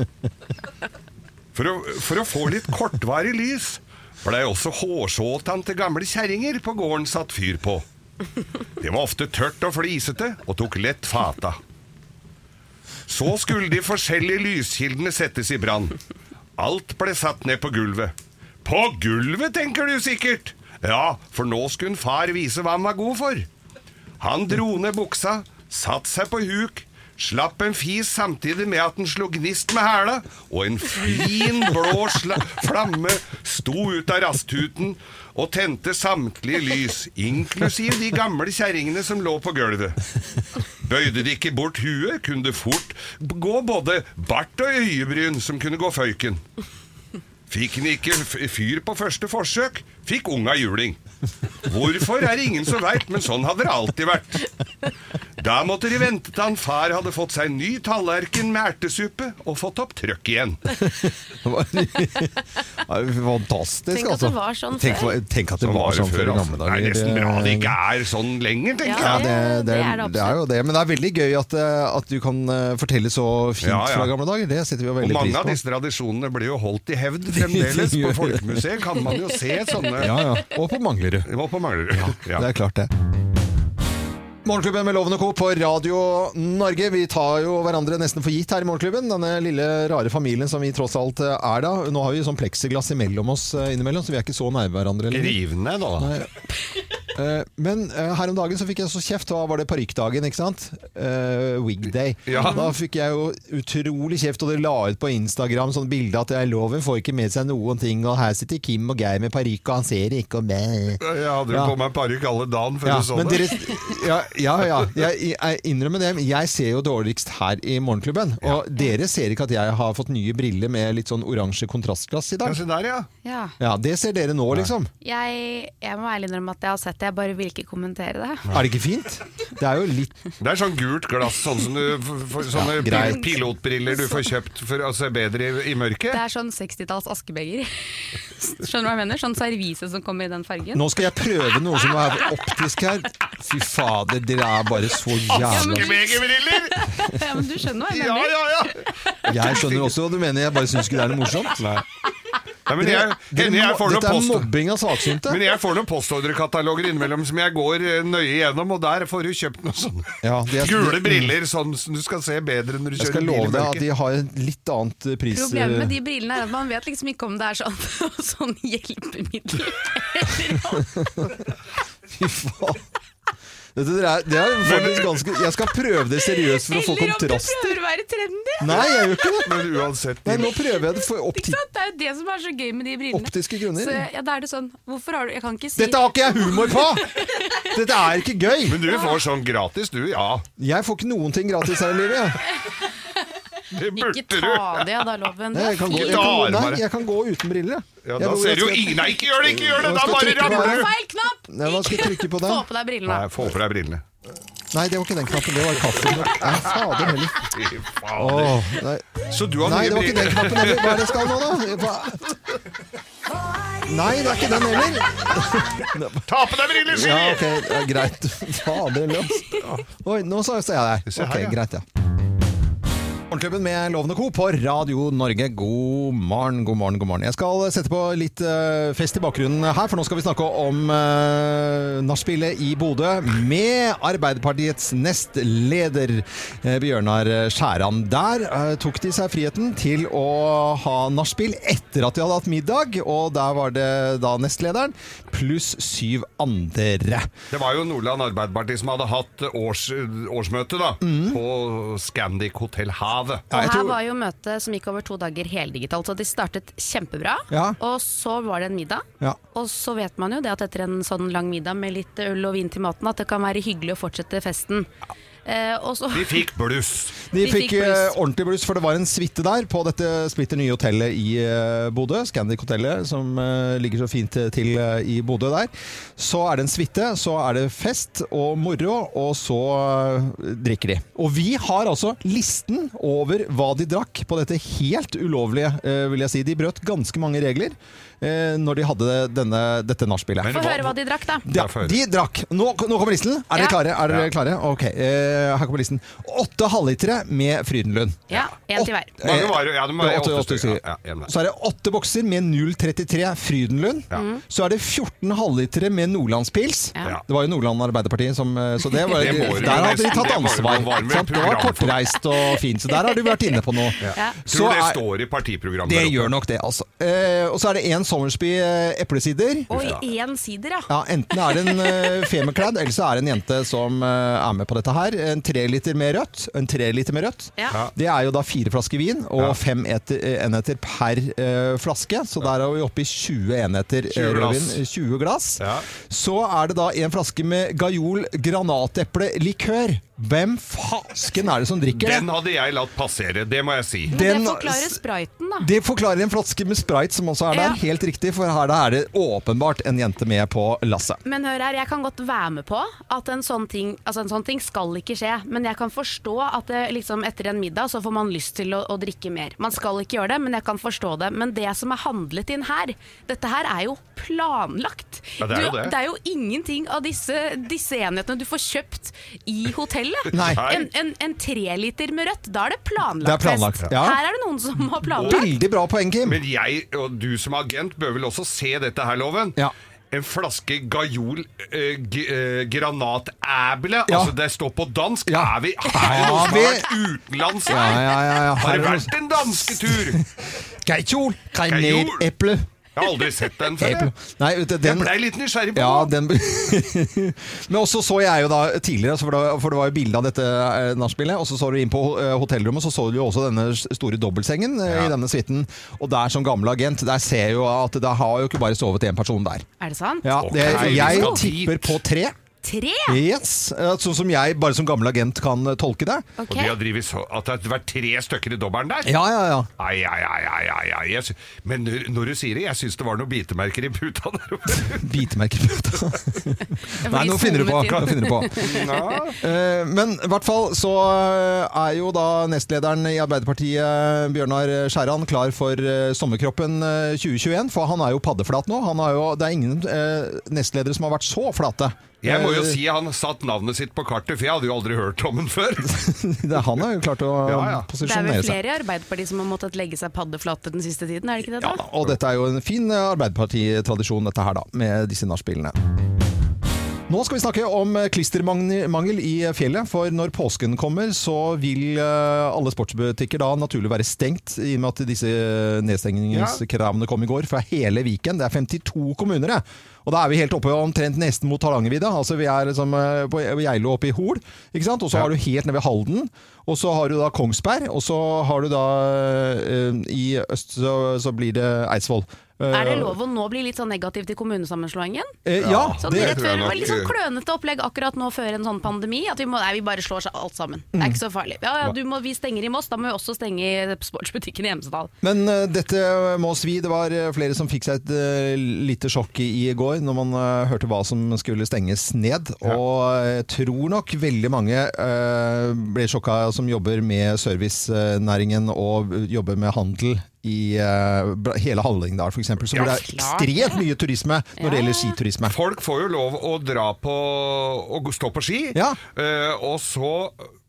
[SPEAKER 2] For å, for å få litt kortvarig lys blei også hårsåtan til gamle kjerringer på gården satt fyr på. Det var ofte tørt og flisete, og tok lett fata. Så skulle de forskjellige lyskildene settes i brann. Alt ble satt ned på gulvet. På gulvet, tenker du sikkert. Ja, for nå skulle far vise hva han var god for. Han dro ned buksa, satt seg på huk, slapp en fis samtidig med at den slo gnist med hæla, og en fin blå sla flamme sto ut av rasthuten og tente samtlige lys, inklusiv de gamle kjerringene som lå på gulvet. Bøyde de ikke bort huet, kunne det fort gå både bart og øyebryn som kunne gå føyken. Fikk den ikke f- fyr på første forsøk, fikk unga juling. Hvorfor er det ingen som veit, men sånn hadde det alltid vært. Da måtte de vente til han far hadde fått seg en ny tallerken med ertesuppe og fått opp trøkk igjen.
[SPEAKER 1] Det var- Ja, det var Fantastisk,
[SPEAKER 4] Tenk at
[SPEAKER 1] altså.
[SPEAKER 4] det var sånn
[SPEAKER 1] tenk,
[SPEAKER 4] før.
[SPEAKER 1] hva- Tenk at det var sånn før i gamle
[SPEAKER 2] altså. Det
[SPEAKER 1] dager. eh,
[SPEAKER 2] er nesten bra det ikke er sånn lenger, tenker
[SPEAKER 1] Ja,
[SPEAKER 4] Ja,
[SPEAKER 2] jeg.
[SPEAKER 1] det, det,
[SPEAKER 4] det
[SPEAKER 1] er
[SPEAKER 4] er
[SPEAKER 1] det,
[SPEAKER 4] det
[SPEAKER 1] er jo det. Men det er veldig gøy at, eh, at du kan eh, fortelle så fint
[SPEAKER 2] Ja, ja.
[SPEAKER 1] fra gamle dager. Det setter vi jo
[SPEAKER 2] Og
[SPEAKER 1] veldig
[SPEAKER 2] mange
[SPEAKER 1] pris
[SPEAKER 2] av
[SPEAKER 1] på.
[SPEAKER 2] disse tradisjonene blir jo holdt i hevd fremdeles. På Folkemuseet kan man jo se sånne.
[SPEAKER 1] Ja, ja. Og på Manglerud.
[SPEAKER 2] Det var på Manglerud.
[SPEAKER 1] Det
[SPEAKER 2] Ja.
[SPEAKER 1] er klart, det. Morgenklubben med Loven og Co. på Radio Norge. Vi tar jo hverandre nesten for gitt her i Morgenklubben. Denne lille, rare familien som vi tross alt eh, er da. Nå har vi sånn pleksiglass imellom oss eh, innimellom, så vi er ikke så nærme hverandre. lenger.
[SPEAKER 2] Riv ned, da.
[SPEAKER 1] Eh, Men eh, her om dagen så fikk jeg så kjeft, da var det parykkdagen, ikke sant? Eh, wig day.
[SPEAKER 2] Ja.
[SPEAKER 1] Da fikk jeg jo utrolig kjeft, og det la ut på Instagram sånn bilde at jeg loven får ikke med seg noen ting, og her sitter Kim og Geir med parykk, og han ser ikke, og meh.
[SPEAKER 2] Jeg hadde jo
[SPEAKER 1] Ja.
[SPEAKER 2] på meg parykk alle dagen før
[SPEAKER 1] Ja,
[SPEAKER 2] du sånn så
[SPEAKER 1] men
[SPEAKER 2] det.
[SPEAKER 1] dere, ja, ja, ja. Jeg, jeg innrømmer det. men Jeg ser jo dårligst her i Morgenklubben. Og dere ser ikke at jeg har fått nye briller med litt sånn oransje kontrastglass i
[SPEAKER 2] Ja,
[SPEAKER 1] dag.
[SPEAKER 2] se der, ja.
[SPEAKER 3] Ja.
[SPEAKER 1] Ja, Det ser dere nå, liksom.
[SPEAKER 3] Jeg, jeg må ærlig innrømme at jeg har sett det, jeg bare vil ikke kommentere det.
[SPEAKER 1] Er det ikke fint? Det er jo litt
[SPEAKER 2] Det er sånn gult glass, sånn som du, for, for, sånne
[SPEAKER 1] Ja,
[SPEAKER 2] pil,
[SPEAKER 1] greit.
[SPEAKER 2] pilotbriller du får kjøpt for å se bedre i, i
[SPEAKER 3] Det
[SPEAKER 2] mørket.
[SPEAKER 3] er sånn 60-talls askebeger. Skjønner du hva jeg mener? Sånn servise som kommer i den fargen.
[SPEAKER 1] Nå skal jeg prøve noe som er optisk her. Fy fader, dere er bare så
[SPEAKER 2] Altså,
[SPEAKER 1] jævla
[SPEAKER 2] Askebegerbriller!
[SPEAKER 3] Ja, men du skjønner hva jeg
[SPEAKER 2] Ja,
[SPEAKER 3] mener?
[SPEAKER 2] ja, ja!
[SPEAKER 1] Jeg skjønner også hva du mener, jeg bare syns ikke det er noe morsomt.
[SPEAKER 2] Nei, men jeg,
[SPEAKER 1] Dere
[SPEAKER 2] Henny, jeg
[SPEAKER 1] må-
[SPEAKER 2] får noen
[SPEAKER 1] Dette er
[SPEAKER 2] post...
[SPEAKER 1] mobbing av saksynte.
[SPEAKER 2] Men jeg får noen postordrekataloger innimellom som jeg går eh, nøye gjennom, og der får du kjøpt noen sånne
[SPEAKER 1] Ja, de er-
[SPEAKER 2] gule briller sånn som du skal se bedre når du
[SPEAKER 1] Jeg
[SPEAKER 2] kjører
[SPEAKER 1] skal
[SPEAKER 2] bil i
[SPEAKER 1] love deg at de
[SPEAKER 2] mørket.
[SPEAKER 1] har en litt annet eh, pris
[SPEAKER 3] Problemet med de brillene er at man vet liksom ikke om det er sånn, sånn hjelpemiddel.
[SPEAKER 1] Fy faen. Dette er, det er faktisk ganske Jeg skal prøve det seriøst for å få
[SPEAKER 3] Eller om du
[SPEAKER 1] kontrast.
[SPEAKER 3] prøver å være trendy!
[SPEAKER 1] Nei, jeg gjør ikke det.
[SPEAKER 2] Men uansett,
[SPEAKER 1] Nei,
[SPEAKER 2] de,
[SPEAKER 1] nå prøver jeg det for
[SPEAKER 3] Ikke
[SPEAKER 1] opti
[SPEAKER 3] sant? Det er jo det som er så gøy med de brillene.
[SPEAKER 1] optiske grunner.
[SPEAKER 3] Så, ja, da er det sånn, hvorfor har du Jeg kan ikke si
[SPEAKER 1] Dette har ikke jeg humor på! Dette er ikke gøy.
[SPEAKER 2] men du får sånn gratis, du. Ja,
[SPEAKER 1] Jeg får ikke noen ting gratis her i livet. jeg.
[SPEAKER 2] det
[SPEAKER 3] Ikke
[SPEAKER 2] burde du.
[SPEAKER 3] ta det av da, Loven.
[SPEAKER 1] Nei, jeg kan, gå,
[SPEAKER 2] Ikke
[SPEAKER 1] jeg, kan gå,
[SPEAKER 2] ta armene.
[SPEAKER 1] nei, jeg kan gå uten briller. jeg.
[SPEAKER 2] Ja,
[SPEAKER 1] Jeg
[SPEAKER 2] da
[SPEAKER 1] bor-
[SPEAKER 2] ser
[SPEAKER 1] jeg
[SPEAKER 2] du jo
[SPEAKER 1] skal-
[SPEAKER 2] ingen Nei, ikke gjør det! Ikke gjør det!
[SPEAKER 1] Nå
[SPEAKER 2] Da
[SPEAKER 1] skal
[SPEAKER 2] bare
[SPEAKER 1] jeg trykke på
[SPEAKER 2] ramler
[SPEAKER 1] her.
[SPEAKER 2] du!
[SPEAKER 3] Feil knapp!
[SPEAKER 1] Nei, hva skal jeg trykke på
[SPEAKER 3] Få
[SPEAKER 1] der?
[SPEAKER 3] på deg brillene.
[SPEAKER 2] Nei, få på deg brillene.
[SPEAKER 1] Nei, det var ikke den knappen, det var kaffen. Nei, fader heller.
[SPEAKER 2] Fy faen.
[SPEAKER 1] Åh, nei.
[SPEAKER 2] Så du har
[SPEAKER 1] nei,
[SPEAKER 2] nye
[SPEAKER 1] det var ikke
[SPEAKER 2] briller.
[SPEAKER 1] den knappen. heller. Hva er det jeg skal nå, da? Hva? Nei, det er ikke den heller.
[SPEAKER 2] Ta på deg briller, sier
[SPEAKER 1] Ja,
[SPEAKER 2] de!
[SPEAKER 1] ok, ja, greit. Fader løs. Oi, nå sa sa jeg det.
[SPEAKER 2] Se her,
[SPEAKER 1] Ok,
[SPEAKER 2] ja.
[SPEAKER 1] greit, ja. Morgenklubben med Lovende Co. på Radio Norge. God morgen, god morgen, god morgen. Jeg skal sette på litt eh, fest i bakgrunnen her, for nå skal vi snakke om uh, nachspielet i Bodø med Arbeiderpartiets nestleder eh, Bjørnar Skjæran. Der eh, tok de seg friheten til å ha nachspiel etter at de hadde hatt middag, og der var det da nestlederen pluss syv andre.
[SPEAKER 2] Det var jo Nordland Arbeiderparti som hadde hatt eh, års, årsmøte da,
[SPEAKER 1] Mm.
[SPEAKER 2] på Scandic Hotel Havet.
[SPEAKER 1] Ja,
[SPEAKER 3] Og
[SPEAKER 1] jeg
[SPEAKER 3] her
[SPEAKER 1] tror-
[SPEAKER 3] var jo møtet som gikk over to dager heldigitalt, så de startet kjempebra.
[SPEAKER 1] Ja.
[SPEAKER 3] Og så var det en middag.
[SPEAKER 1] Ja.
[SPEAKER 3] Og så vet man jo det at etter en sånn lang middag med litt øl og vin til maten, at det kan være hyggelig å fortsette festen. Eh, og så
[SPEAKER 2] De fikk bluss.
[SPEAKER 1] De
[SPEAKER 3] Vi
[SPEAKER 1] fikk
[SPEAKER 3] fikk bluss.
[SPEAKER 1] eh, ordentlig bluss, for det var en suite der på dette splitter nye hotellet i eh, Bodø. Scandic-hotellet, som eh, ligger så fint eh, til eh, i Bodø der. Så er det en suite, så er det fest og moro, og så eh, drikker de. Og vi har altså listen over hva de drakk på dette helt ulovlige, eh, vil jeg si. De brøt ganske mange regler eh, når de hadde denne, dette nachspielet.
[SPEAKER 2] Men
[SPEAKER 3] Få høre hva de drakk, da.
[SPEAKER 1] Ja,
[SPEAKER 2] Derfor.
[SPEAKER 1] de drakk. Nå, nå kommer listen. Er dere
[SPEAKER 3] Ja.
[SPEAKER 1] klare? Er dere
[SPEAKER 2] Ja.
[SPEAKER 1] klare? Ok, eh, Her kommer listen. Åtte halvlitere med Frydenlund.
[SPEAKER 3] Ja, én til hver.
[SPEAKER 2] Mange var det- ja, det var
[SPEAKER 1] Det var
[SPEAKER 2] åtte
[SPEAKER 1] 88
[SPEAKER 2] stykker,
[SPEAKER 1] stykker.
[SPEAKER 2] ja, ja, en hver.
[SPEAKER 1] Så er det åtte bokser med 033 Frydenlund.
[SPEAKER 2] Ja. Mm.
[SPEAKER 1] Så er det 14 halvlitere med Nordlandspils.
[SPEAKER 3] Ja.
[SPEAKER 1] Det var jo Nordland Arbeiderparti som eh, Så det var,
[SPEAKER 2] Det må du
[SPEAKER 1] der hadde de
[SPEAKER 2] nesten-
[SPEAKER 1] tatt
[SPEAKER 2] det må du-
[SPEAKER 1] ansvar.
[SPEAKER 2] det var med
[SPEAKER 1] ikke sant? Det var
[SPEAKER 2] program for.
[SPEAKER 1] kortreist og fint. Så der har du vært inne på noe.
[SPEAKER 3] Ja.
[SPEAKER 2] Tror det
[SPEAKER 1] er-
[SPEAKER 2] står i partiprogrammet.
[SPEAKER 1] det
[SPEAKER 2] der oppe.
[SPEAKER 1] gjør nok det, altså. Eh, og så er det en Summersby eh, eplesider.
[SPEAKER 3] Og i én sider, ja.
[SPEAKER 1] Ja, Enten er det en eh, femekledd, eller så er det en jente som eh, er med på dette her. En treliter med rødt. En treliter med rødt.
[SPEAKER 3] Ja.
[SPEAKER 2] Ja.
[SPEAKER 1] Det er jo da fire flasker vin og
[SPEAKER 2] Ja.
[SPEAKER 1] fem eter, eh, enheter per eh, flaske. Så der er vi oppe i 20 enheter eh,
[SPEAKER 2] 20 glass.
[SPEAKER 1] rødvin. 20 glass.
[SPEAKER 2] Ja.
[SPEAKER 1] Så er det da en flaske med Gajol granateplelikør. Hvem fasken er det som drikker det?
[SPEAKER 2] Den hadde jeg latt passere, det må jeg si.
[SPEAKER 3] Men
[SPEAKER 1] den-
[SPEAKER 3] det forklarer spriten, da.
[SPEAKER 1] Det forklarer en flaske med sprite som også er der.
[SPEAKER 3] Ja.
[SPEAKER 1] Helt riktig, for her da er det åpenbart en jente med på lasset.
[SPEAKER 3] Men hør her, jeg kan godt være med på at en sånn ting, altså en sånn ting skal ikke skje. Men jeg kan forstå at det, liksom, etter en middag så får man lyst til å, å drikke mer. Man skal ikke gjøre det, men jeg kan forstå det. Men det som er handlet inn her, dette her er jo planlagt.
[SPEAKER 2] Ja, det er jo
[SPEAKER 3] du,
[SPEAKER 2] det.
[SPEAKER 3] det er jo ingenting av disse, disse enhetene du får kjøpt i hotellet.
[SPEAKER 1] Nei.
[SPEAKER 3] En, en, en treliter med rødt, da er det planlagt,
[SPEAKER 1] Det er planlagt,
[SPEAKER 3] fest.
[SPEAKER 1] ja.
[SPEAKER 3] Her er det noen som har planlagt.
[SPEAKER 1] Veldig bra poeng, Kim.
[SPEAKER 2] Men jeg, og du som agent, bør vel også se dette her, Loven?
[SPEAKER 1] Ja.
[SPEAKER 2] En flaske Gajol eh, g- eh, Granatæble.
[SPEAKER 1] Ja.
[SPEAKER 2] Altså, det står på dansk.
[SPEAKER 1] Ja.
[SPEAKER 2] Er vi er det noe
[SPEAKER 1] Har
[SPEAKER 2] som har
[SPEAKER 1] vi-
[SPEAKER 2] vært utenlands
[SPEAKER 1] Ja,
[SPEAKER 2] her?
[SPEAKER 1] ja, ja, ja.
[SPEAKER 2] Har det
[SPEAKER 1] Her er
[SPEAKER 2] vært en dansketur?
[SPEAKER 1] Geitjol!
[SPEAKER 2] Geitjol.
[SPEAKER 1] Eple.
[SPEAKER 2] Jeg har aldri sett den før.
[SPEAKER 1] Eple.
[SPEAKER 2] jeg.
[SPEAKER 1] Nei, vet du,
[SPEAKER 2] Jeg
[SPEAKER 1] den
[SPEAKER 2] blei litt nysgjerrig på
[SPEAKER 1] ja,
[SPEAKER 2] den.
[SPEAKER 1] den Men også så jeg jo da tidligere, så for det, for det var jo bilde av dette eh, nachspielet, og så så du inn på eh, hotellrommet, så så du jo også denne s- store dobbeltsengen eh,
[SPEAKER 2] Ja.
[SPEAKER 1] i denne suiten. Og der som gammel agent, der ser jeg jo at det har jo ikke bare sovet én person der.
[SPEAKER 3] Er det sant?
[SPEAKER 1] Ja, det,
[SPEAKER 2] Ok, vi
[SPEAKER 1] jeg
[SPEAKER 2] skal
[SPEAKER 1] tipper
[SPEAKER 2] dit.
[SPEAKER 1] på tre.
[SPEAKER 3] Tre?
[SPEAKER 1] Yes, eh, Sånn som jeg, bare som gammel agent, kan eh, tolke det.
[SPEAKER 3] Ok.
[SPEAKER 2] Og de har drivet så At det har vært tre stykker i dobbelen der?
[SPEAKER 1] Ja, ja, ja.
[SPEAKER 2] Ai, ai, ai, ai, ai, ai. Jeg sy Men når- når du sier det, jeg syns det var noen bitemerker i puta der oppe.
[SPEAKER 1] Bitemerker på det.
[SPEAKER 3] Jeg får
[SPEAKER 1] Nei,
[SPEAKER 3] litt
[SPEAKER 1] nå finner du på.
[SPEAKER 3] sonetid.
[SPEAKER 1] Nå finner du på.
[SPEAKER 2] Ja.
[SPEAKER 1] Eh, Men i hvert fall så eh, er jo da nestlederen i Arbeiderpartiet eh, Bjørnar Skjæran klar for eh, sommerkroppen eh, 2021, for han er jo paddeflat nå. Han har jo, det er ingen eh, nestledere som har vært så flate.
[SPEAKER 2] Jeg må jo
[SPEAKER 1] Eh,
[SPEAKER 2] si han satt navnet sitt på kartet, for jeg hadde jo aldri hørt om den før.
[SPEAKER 1] det er- Han har jo klart å
[SPEAKER 2] Ja, ja.
[SPEAKER 3] Det er vel
[SPEAKER 1] posisjonere seg.
[SPEAKER 3] flere i Arbeiderpartiet som har måttet legge seg paddeflate den siste tiden, er det ikke det?
[SPEAKER 1] Ja,
[SPEAKER 3] da?
[SPEAKER 1] da, og dette er jo en fin eh, Arbeiderpartitradisjon, dette her, da, med disse nachspielene. Nå skal vi snakke om eh, klistermangel i fjellet, for når påsken kommer så vil eh, alle sportsbutikker da naturlig være stengt, i og med at disse nedstengningskravene kom i går fra hele Viken. Det er 52 kommuner, det. Og da er vi helt oppe omtrent nesten mot Hardangervidda. Altså vi er liksom eh, på Geilo oppe i Hol, ikke sant? Og så har du helt nede ved Halden, og så har du da Kongsberg, og så har du da eh, i øst så, så blir det Eidsvoll.
[SPEAKER 3] Er det lov å nå bli litt sånn negativ til kommunesammenslåingen?
[SPEAKER 1] Eh, ja,
[SPEAKER 3] Sånn,
[SPEAKER 1] det,
[SPEAKER 3] rett
[SPEAKER 2] tror
[SPEAKER 3] før,
[SPEAKER 2] jeg
[SPEAKER 3] det var litt sånn
[SPEAKER 2] nok.
[SPEAKER 3] klønete opplegg akkurat nå før en sånn pandemi. At vi, må, nei, vi bare slår seg alt sammen. Det er ikke så farlig. Ja, ja, du må, vi stenger i Moss, da må vi også stenge i sportsbutikken i Hemsedal.
[SPEAKER 1] Men eh, dette må svi. Det var eh, flere som fikk seg et eh, lite sjokk i, i går når man eh, hørte hva som skulle stenges ned. Og eh, jeg tror nok veldig mange eh, ble sjokka som jobber med servicenæringen og jobber med handel i eh, bra- hele Hallingdal f.eks. Så hvor det er
[SPEAKER 3] klart.
[SPEAKER 1] ekstremt mye turisme når det gjelder skiturisme.
[SPEAKER 2] Folk får jo lov å dra på Å gå- stå på ski,
[SPEAKER 1] Ja.
[SPEAKER 2] eh, og så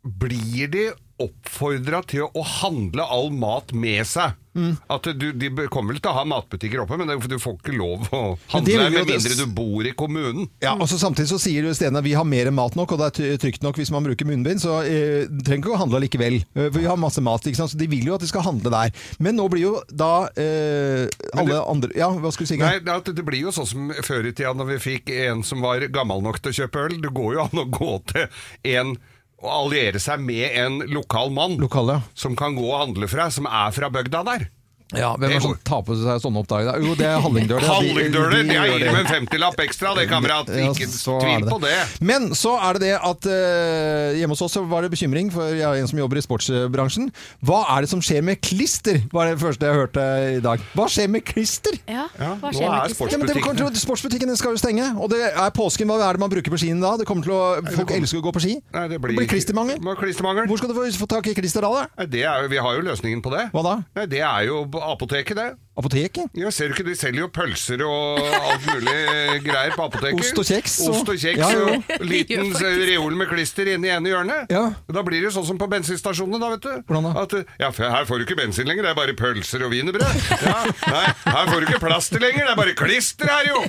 [SPEAKER 2] blir de oppfordra til å handle all mat med seg.
[SPEAKER 1] Mm.
[SPEAKER 2] At du, De kommer vel til å ha matbutikker oppe, men det- du får ikke lov
[SPEAKER 1] Men
[SPEAKER 2] å handle
[SPEAKER 1] det
[SPEAKER 2] her
[SPEAKER 1] vil
[SPEAKER 2] med
[SPEAKER 1] jo det-
[SPEAKER 2] mindre du bor i kommunen.
[SPEAKER 1] Ja, og så Samtidig så sier jo stedene at vi har mer enn mat nok, og det er ty- trygt nok hvis man bruker munnbind. Så eh, du trenger ikke å handle likevel. Eh, for vi har masse mat, ikke sant? så de vil jo at de skal handle der. Men nå blir jo da eh, alle andre Ja, hva skulle du si? Geir?
[SPEAKER 2] Nei, det, at det blir jo sånn som før i tida når vi fikk en som var gammel nok til å kjøpe øl. Det går jo an å gå til en og alliere seg med en lokal mann
[SPEAKER 1] Lokale, ja.
[SPEAKER 2] som kan gå og handle fra, som er fra bygda der.
[SPEAKER 1] Ja, Hvem er det som tar på seg sånne oppdrag? da? Jo, det er Hallingdøler. ja, de-
[SPEAKER 2] Hallingdøler!
[SPEAKER 1] de
[SPEAKER 2] Jeg
[SPEAKER 1] gjør
[SPEAKER 2] gir dem en femtilapp ekstra, det, kamerat.
[SPEAKER 1] Ja,
[SPEAKER 2] Ikke
[SPEAKER 1] så er
[SPEAKER 2] tvil på det.
[SPEAKER 1] Men så er det det at eh, hjemme hos oss så var det bekymring, for jeg er en som jobber i sportsbransjen. Hva er det som skjer med klister, var det første jeg hørte i dag. Hva skjer med klister?
[SPEAKER 3] Ja,
[SPEAKER 2] Ja,
[SPEAKER 3] hva
[SPEAKER 2] nå
[SPEAKER 3] skjer
[SPEAKER 2] er
[SPEAKER 3] med Kristin?
[SPEAKER 1] Ja, men det kommer til å, sportsbutikkene skal jo stenge, og det er påsken. Hva er det man bruker på skien da? Det kommer til å, folk elsker å gå på ski.
[SPEAKER 2] Nei, det blir,
[SPEAKER 1] klistermangel.
[SPEAKER 2] Må- klistermangel.
[SPEAKER 1] Hvor skal du få, få tak i klister da? da?
[SPEAKER 2] Nei, Det er, jo- vi har jo løsningen på det.
[SPEAKER 1] Hva da?
[SPEAKER 2] Nei, det er jo apoteket, det.
[SPEAKER 1] Apoteket?
[SPEAKER 2] Ja, ser du ikke, De selger jo pølser og alt mulig greier på apoteket.
[SPEAKER 1] Ost og kjeks og-
[SPEAKER 2] Ost og kjeks
[SPEAKER 1] Ja, jo.
[SPEAKER 2] og liten
[SPEAKER 3] De gjør faktisk
[SPEAKER 2] reol med klister inne i ene hjørnet.
[SPEAKER 1] Ja.
[SPEAKER 2] Da blir det jo sånn som på bensinstasjonene, da, vet du.
[SPEAKER 1] Hvordan da?
[SPEAKER 2] At, uh, ja, for her får du ikke bensin lenger, det er bare pølser og wienerbrød. Ja, nei, her får du ikke plaster lenger, det er bare klister her, jo!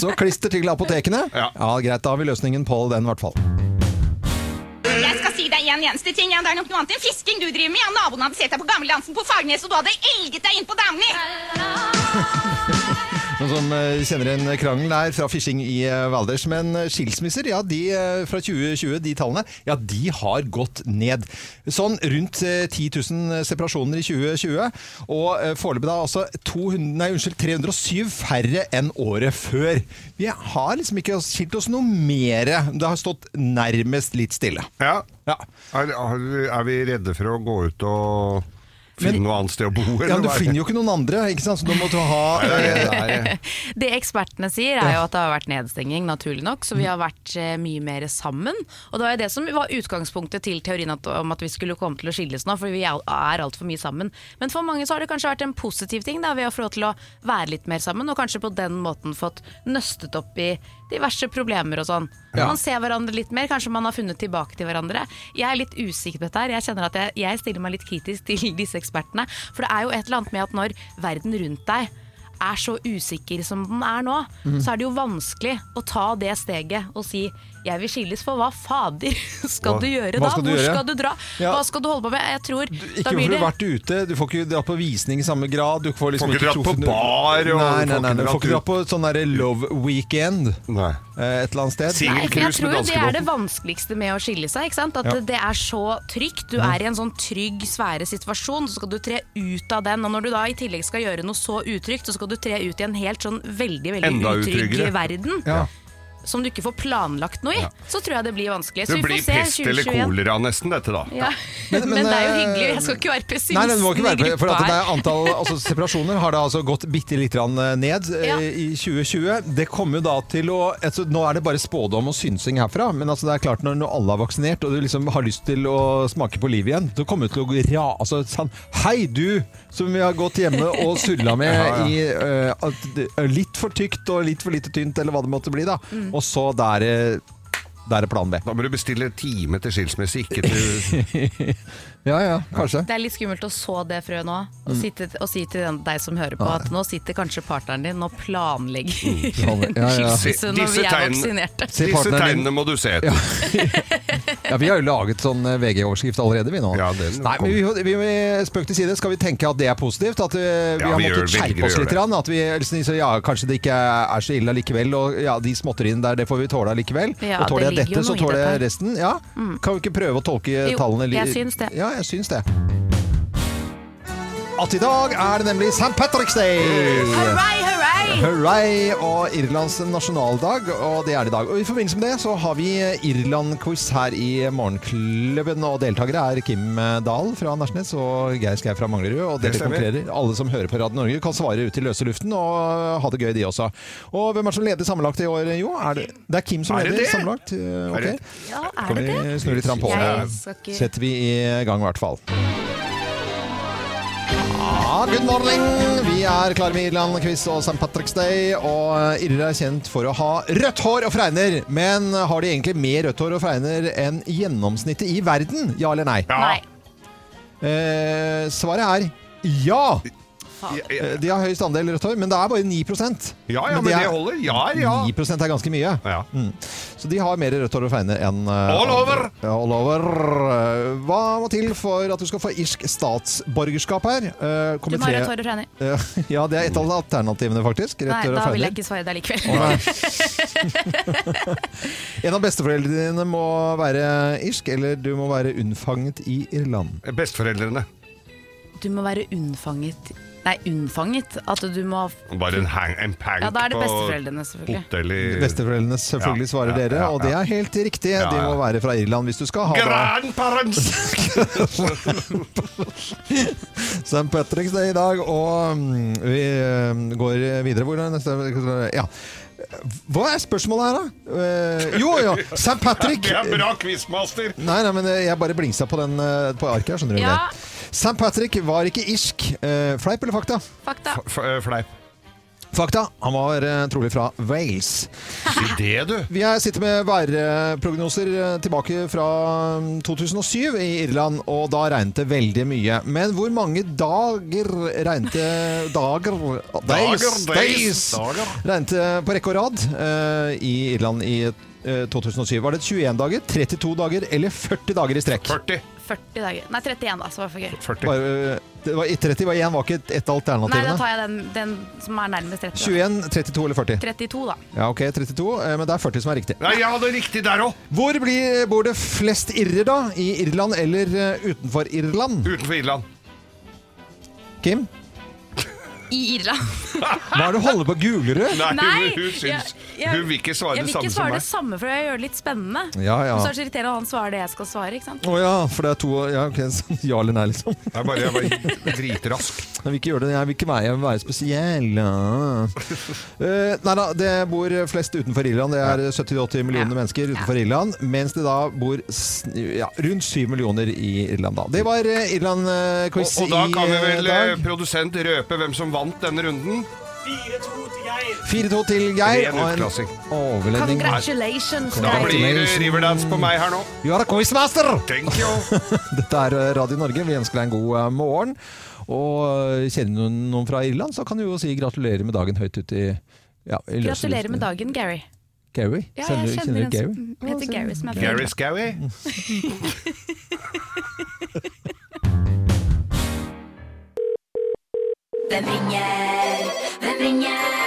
[SPEAKER 1] Så klister til apotekene?
[SPEAKER 2] Ja.
[SPEAKER 1] Greit, da har vi løsningen på den i hvert fall.
[SPEAKER 4] Jeg skal si deg en en eneste ting. Ja, det er nok noe annet enn fisking du driver med. Ja, naboen hadde sett deg på gamledansen på Fagernes, og du hadde elget deg inn på damene.
[SPEAKER 1] Noen som eh, kjenner en krangel der fra fishing i eh, Valdres. Men eh, skilsmisser, ja, de eh, fra 2020, de tallene, ja, de har gått ned. Sånn rundt eh, 10 000 separasjoner i 2020. Og eh, foreløpig da altså 200, nei, unnskyld, 307 færre enn året før. Vi har liksom ikke skilt oss noe mere. Det har stått nærmest litt stille.
[SPEAKER 2] Ja.
[SPEAKER 1] Ja.
[SPEAKER 2] Er, er vi redde for å gå ut og finne
[SPEAKER 1] Men-
[SPEAKER 2] noe annet sted å bo?
[SPEAKER 1] Ja, men Du finner jo ikke noen andre, ikke sant? så da må du ha eh,
[SPEAKER 5] Det ekspertene sier er jo at det har vært nedstenging, naturlig nok, så vi har vært eh, mye mer sammen. Og det var jo det som var utgangspunktet til teorien at, om at vi skulle komme til å skilles nå, for vi er er altfor mye sammen. Men for mange så har det kanskje vært en positiv ting, da, ved å få lov til å være litt mer sammen, og kanskje på den måten fått nøstet opp i diverse problemer og sånn. Man ser hverandre litt mer, kanskje man har funnet tilbake til hverandre. Jeg er litt usikker på dette her, jeg kjenner at jeg, jeg stiller meg litt kritisk til disse ekspertene, for det er jo et eller annet med at når verden rundt deg er så usikker som den er nå,
[SPEAKER 1] Mhm.
[SPEAKER 5] så er det jo vanskelig å ta det steget og si jeg vil skilles, for hva fader skal
[SPEAKER 2] Hva-
[SPEAKER 5] du gjøre
[SPEAKER 1] hva
[SPEAKER 5] da?
[SPEAKER 1] skal du
[SPEAKER 5] Hvor
[SPEAKER 1] gjøre?
[SPEAKER 5] skal du dra?
[SPEAKER 1] Ja.
[SPEAKER 5] Hva skal du holde på med? Jeg tror
[SPEAKER 1] Ikke hvorfor du har vært ute, du får ikke dra på visning i samme grad. Du får, liksom
[SPEAKER 2] Får ikke dratt på
[SPEAKER 1] truffet-
[SPEAKER 2] bar, og du
[SPEAKER 1] nei, nei, nei,
[SPEAKER 2] får ikke
[SPEAKER 1] du får
[SPEAKER 2] dratt
[SPEAKER 1] ikke dra på sånn derre love weekend eh,
[SPEAKER 2] Nei.
[SPEAKER 1] et eller annet sted.
[SPEAKER 5] Nei, for jeg
[SPEAKER 2] Singelcruise
[SPEAKER 5] tror
[SPEAKER 2] med
[SPEAKER 5] jo det er det
[SPEAKER 2] danskebåten.
[SPEAKER 5] vanskeligste med å skille seg. Ikke sant? At
[SPEAKER 1] Ja.
[SPEAKER 5] det- det er så trygt. Du er i en sånn trygg, sfære situasjon, så skal du tre ut av den. Og når du da i tillegg skal gjøre noe så utrygt, så skal du tre ut i en helt sånn veldig, veldig
[SPEAKER 2] Enda
[SPEAKER 5] utrygg
[SPEAKER 2] utryggere.
[SPEAKER 5] verden.
[SPEAKER 1] Ja.
[SPEAKER 5] Som du ikke får planlagt noe i. Så tror jeg det blir vanskelig.
[SPEAKER 2] Det
[SPEAKER 5] Så vi får
[SPEAKER 2] blir
[SPEAKER 5] se
[SPEAKER 2] pest eller
[SPEAKER 5] 2021.
[SPEAKER 2] kolera nesten, dette da.
[SPEAKER 5] Ja. Men,
[SPEAKER 1] men,
[SPEAKER 5] det er jo
[SPEAKER 1] eh,
[SPEAKER 5] hyggelig. Jeg skal ikke være pessimisten
[SPEAKER 1] Nei, nei, det må ikke være
[SPEAKER 5] i
[SPEAKER 1] på, for
[SPEAKER 5] gruppa
[SPEAKER 1] at det
[SPEAKER 5] her.
[SPEAKER 1] er antall altså, separasjoner har da altså gått bitte litt grann eh, ned eh,
[SPEAKER 5] Ja.
[SPEAKER 1] i 2020. Det kommer jo da til å altså, Nå er det bare spådom og synsing herfra, men altså, det er klart når, når alle er vaksinert og du liksom har lyst til å smake på livet igjen, så kommer det til å ra... Altså, sånn, Hei, du som vi har gått hjemme og surla med i eh, at, det- litt for tykt og litt for lite tynt, eller hva det måtte bli, da. Og så der, eh, der er plan B.
[SPEAKER 2] Da må du bestille time til skilsmisse, ikke til
[SPEAKER 1] Ja ja, kanskje.
[SPEAKER 5] Det er litt skummelt å så det frø nå, og,
[SPEAKER 1] Mm.
[SPEAKER 5] sitte, og si til den, deg som hører på at nå sitter kanskje partneren din og planlegger
[SPEAKER 1] planlegger. Mm, Ja, ja.
[SPEAKER 5] skilsmisse når
[SPEAKER 2] Disse
[SPEAKER 5] vi er
[SPEAKER 2] tegnene-
[SPEAKER 5] vaksinerte.
[SPEAKER 1] Se
[SPEAKER 2] Disse
[SPEAKER 1] partneren din.
[SPEAKER 2] tegnene må du se etter.
[SPEAKER 1] Ja, Vi har jo laget sånn eh, VG-overskrift allerede, vi nå.
[SPEAKER 2] Ja, den
[SPEAKER 1] Nei, men vi, vi, vi, Spøk til side, skal vi tenke at det er positivt? At eh, vi
[SPEAKER 2] Ja,
[SPEAKER 1] har
[SPEAKER 2] vi gjør-
[SPEAKER 1] måttet
[SPEAKER 2] vi
[SPEAKER 1] skjerpe
[SPEAKER 2] velger å
[SPEAKER 1] oss
[SPEAKER 2] gjøre
[SPEAKER 1] litt?
[SPEAKER 2] det.
[SPEAKER 1] Grann, at vi, liksom, så ja, kanskje det ikke er så ille likevel, og ja, de småtteriene der, det får vi tåle likevel.
[SPEAKER 5] Ja,
[SPEAKER 1] og tåler
[SPEAKER 5] det
[SPEAKER 1] jeg
[SPEAKER 5] ligger jo
[SPEAKER 1] dette, så
[SPEAKER 5] noe i
[SPEAKER 1] tåler jeg
[SPEAKER 5] dette. Mm.
[SPEAKER 1] resten. Ja. Kan vi ikke prøve å tolke
[SPEAKER 5] Jo,
[SPEAKER 1] tallene li-
[SPEAKER 5] jeg syns det.
[SPEAKER 1] Ja, jeg syns det. At i dag er det nemlig St. Patrick's Day!
[SPEAKER 5] Hurray, hurray!
[SPEAKER 1] Hurray og Irlands nasjonaldag, og det er det i dag. Og I forbindelse med det så har vi Irland-quiz her i Morgenklubben, og deltakere er Kim Dahl fra Nesjnes og Geir Skau fra Manglerud. Og
[SPEAKER 2] Det
[SPEAKER 1] dere
[SPEAKER 2] stemmer.
[SPEAKER 1] konkurrerer. Alle som hører på Radio Norge, kan svare ut i løse luften og ha det gøy, de også. Og hvem er det som leder sammenlagt i år, jo? Er det, det er Kim som
[SPEAKER 2] Er det
[SPEAKER 1] leder
[SPEAKER 2] det?
[SPEAKER 1] sammenlagt? Eh, Ok,
[SPEAKER 2] det-
[SPEAKER 5] Ja, er
[SPEAKER 1] kan
[SPEAKER 5] det det?
[SPEAKER 1] vi snurre litt grann på.
[SPEAKER 5] Jeg skal ikke-
[SPEAKER 1] Setter vi i gang, i hvert fall. Ja, good morning! Vi er klare med Irland-quiz og St. Patrick's Day. Og eh, Irre er kjent for å ha rødt hår og fregner. Men eh, har de egentlig mer rødt hår og fregner enn gjennomsnittet i verden? Ja eller nei?
[SPEAKER 5] Nei.
[SPEAKER 1] Eh, svaret er ja!
[SPEAKER 2] Ja,
[SPEAKER 1] Eh, De har høyest andel rødt hår, men det er bare 9
[SPEAKER 2] ja, ja men det holder. Ja, ja.
[SPEAKER 1] 9 er ganske mye.
[SPEAKER 2] ja.
[SPEAKER 1] Så de har mer rødt hår og fregner enn eh,
[SPEAKER 2] All over!
[SPEAKER 1] andre. Ja, All over. Eh, Hva må til for at du skal få irsk statsborgerskap her? Eh,
[SPEAKER 5] Du må ha
[SPEAKER 1] komité-
[SPEAKER 5] rødt hår og fregner.
[SPEAKER 1] Eh, Ja, det er et av alternativene, faktisk. Rødt
[SPEAKER 5] Nei,
[SPEAKER 1] hår og
[SPEAKER 5] da vil
[SPEAKER 1] fregner.
[SPEAKER 5] jeg ikke svare deg likevel.
[SPEAKER 1] Nei. en av besteforeldrene dine må være irsk, eller du må være unnfanget i Irland.
[SPEAKER 2] Besteforeldrene.
[SPEAKER 5] Du må være unnfanget Nei, unnfanget? At du må
[SPEAKER 2] Bare en, hang, en pank
[SPEAKER 5] Ja, da er det
[SPEAKER 2] på
[SPEAKER 5] besteforeldrene, selvfølgelig.
[SPEAKER 2] hotell i
[SPEAKER 1] Besteforeldrene selvfølgelig
[SPEAKER 2] Ja,
[SPEAKER 1] svarer
[SPEAKER 2] ja,
[SPEAKER 1] dere,
[SPEAKER 2] ja,
[SPEAKER 1] og det er helt riktig.
[SPEAKER 2] Ja,
[SPEAKER 1] De
[SPEAKER 2] ja.
[SPEAKER 1] må være fra Irland hvis du skal ha da
[SPEAKER 2] Grandparents!
[SPEAKER 1] St. Patrick's Day i dag, og mm, vi eh, går videre. Hvor er neste? Ja. Hva er spørsmålet her, da? Eh, jo, jo, St. Patrick!
[SPEAKER 2] Det er bra quizmaster!
[SPEAKER 1] Nei, nei, men eh, jeg bare blingsa på, den, eh, på arket her, skjønner du.
[SPEAKER 5] Ja.
[SPEAKER 1] det? St. Patrick var ikke irsk. Eh, fleip eller fakta?
[SPEAKER 5] Fakta.
[SPEAKER 2] F- eh, Fleip.
[SPEAKER 1] Fakta. Han var eh, trolig fra Wales.
[SPEAKER 2] Si det, du!
[SPEAKER 1] Vi er- sitter med værprognoser eh, tilbake fra mm, 2007 i Irland, og da regnet det veldig mye. Men hvor mange dager regnet det Dager? Days!
[SPEAKER 2] days,
[SPEAKER 1] days
[SPEAKER 2] dager.
[SPEAKER 1] regnet det på rekke og rad eh, i Irland i eh, 2007. Var det 21 dager, 32 dager eller 40 dager i strekk?
[SPEAKER 2] 40.
[SPEAKER 5] 40 dager. Nei, 31 da, så var det for gøy.
[SPEAKER 2] 40.
[SPEAKER 1] Bare, eh, det var, 30 var én, var ikke et, et av
[SPEAKER 5] Nei, da
[SPEAKER 1] alternativene.
[SPEAKER 5] tar jeg den, den som er nærmest 30. da.
[SPEAKER 1] 21, 32 eller 40?
[SPEAKER 5] 32, da.
[SPEAKER 1] Ja, ok, 32, eh, men det er 40 som er riktig.
[SPEAKER 2] Nei, jeg hadde riktig der òg!
[SPEAKER 1] Hvor blir, bor det flest irrer, da? I Irland eller eh, utenfor Irland?
[SPEAKER 2] Utenfor Irland.
[SPEAKER 1] Kim,
[SPEAKER 5] I Irland.
[SPEAKER 1] hva er det du holder på Gulerud?
[SPEAKER 2] Nei,
[SPEAKER 5] Nei,
[SPEAKER 2] hun, hun syns
[SPEAKER 5] jeg- jeg-
[SPEAKER 2] Hun vil ikke svare
[SPEAKER 5] Jeg
[SPEAKER 2] det
[SPEAKER 5] vil
[SPEAKER 2] samme
[SPEAKER 5] ikke
[SPEAKER 2] som
[SPEAKER 5] svare det
[SPEAKER 2] meg.
[SPEAKER 5] samme, for jeg gjør det litt spennende.
[SPEAKER 1] Ja, ja.
[SPEAKER 5] Men Så er det så irriterende at han svarer det jeg skal svare. ikke sant?
[SPEAKER 1] Å ja, for det er to Ja, ok, sånn ja eller nei, liksom.
[SPEAKER 2] Jeg er bare, jeg er bare dritrask.
[SPEAKER 1] Jeg vil ikke gjøre det, jeg vil ikke være, jeg vil være spesiell. ja. Eh, nei da, det bor flest utenfor Irland. Det er 70-80 millioner mennesker utenfor Irland. Mens det da bor s- ja, rundt 7 millioner i Irland, da. Det var eh,
[SPEAKER 2] Og,
[SPEAKER 1] Irland-quiz i
[SPEAKER 2] og da kan vi vel eh,
[SPEAKER 1] dag.
[SPEAKER 2] produsent røpe hvem som vant denne runden. eh,
[SPEAKER 1] 4-2 til Geir.
[SPEAKER 2] Ren
[SPEAKER 1] og en
[SPEAKER 2] utklassing.
[SPEAKER 1] Overledning.
[SPEAKER 5] Congratulations,
[SPEAKER 2] Da
[SPEAKER 5] Geir.
[SPEAKER 2] blir det Riverdance på meg her nå.
[SPEAKER 1] You are a quizmaster!
[SPEAKER 2] Thank you.
[SPEAKER 1] Dette er eh, Radio Norge. Vi ønsker deg en god eh, morgen. Og eh, kjenner du noen fra Irland, så kan du jo si gratulerer med dagen høyt ut i ja, i løse
[SPEAKER 5] Gratulerer
[SPEAKER 1] luften.
[SPEAKER 5] med dagen, Gary.
[SPEAKER 1] Gary?
[SPEAKER 5] Ja,
[SPEAKER 1] Kjenner
[SPEAKER 5] jeg
[SPEAKER 1] du-
[SPEAKER 5] kjenner
[SPEAKER 1] kjenner du
[SPEAKER 5] en
[SPEAKER 1] Gary?
[SPEAKER 5] som mm, heter Gary, som er fra
[SPEAKER 2] Gary Scowie.
[SPEAKER 6] Hvem ringer? Hvem ringer?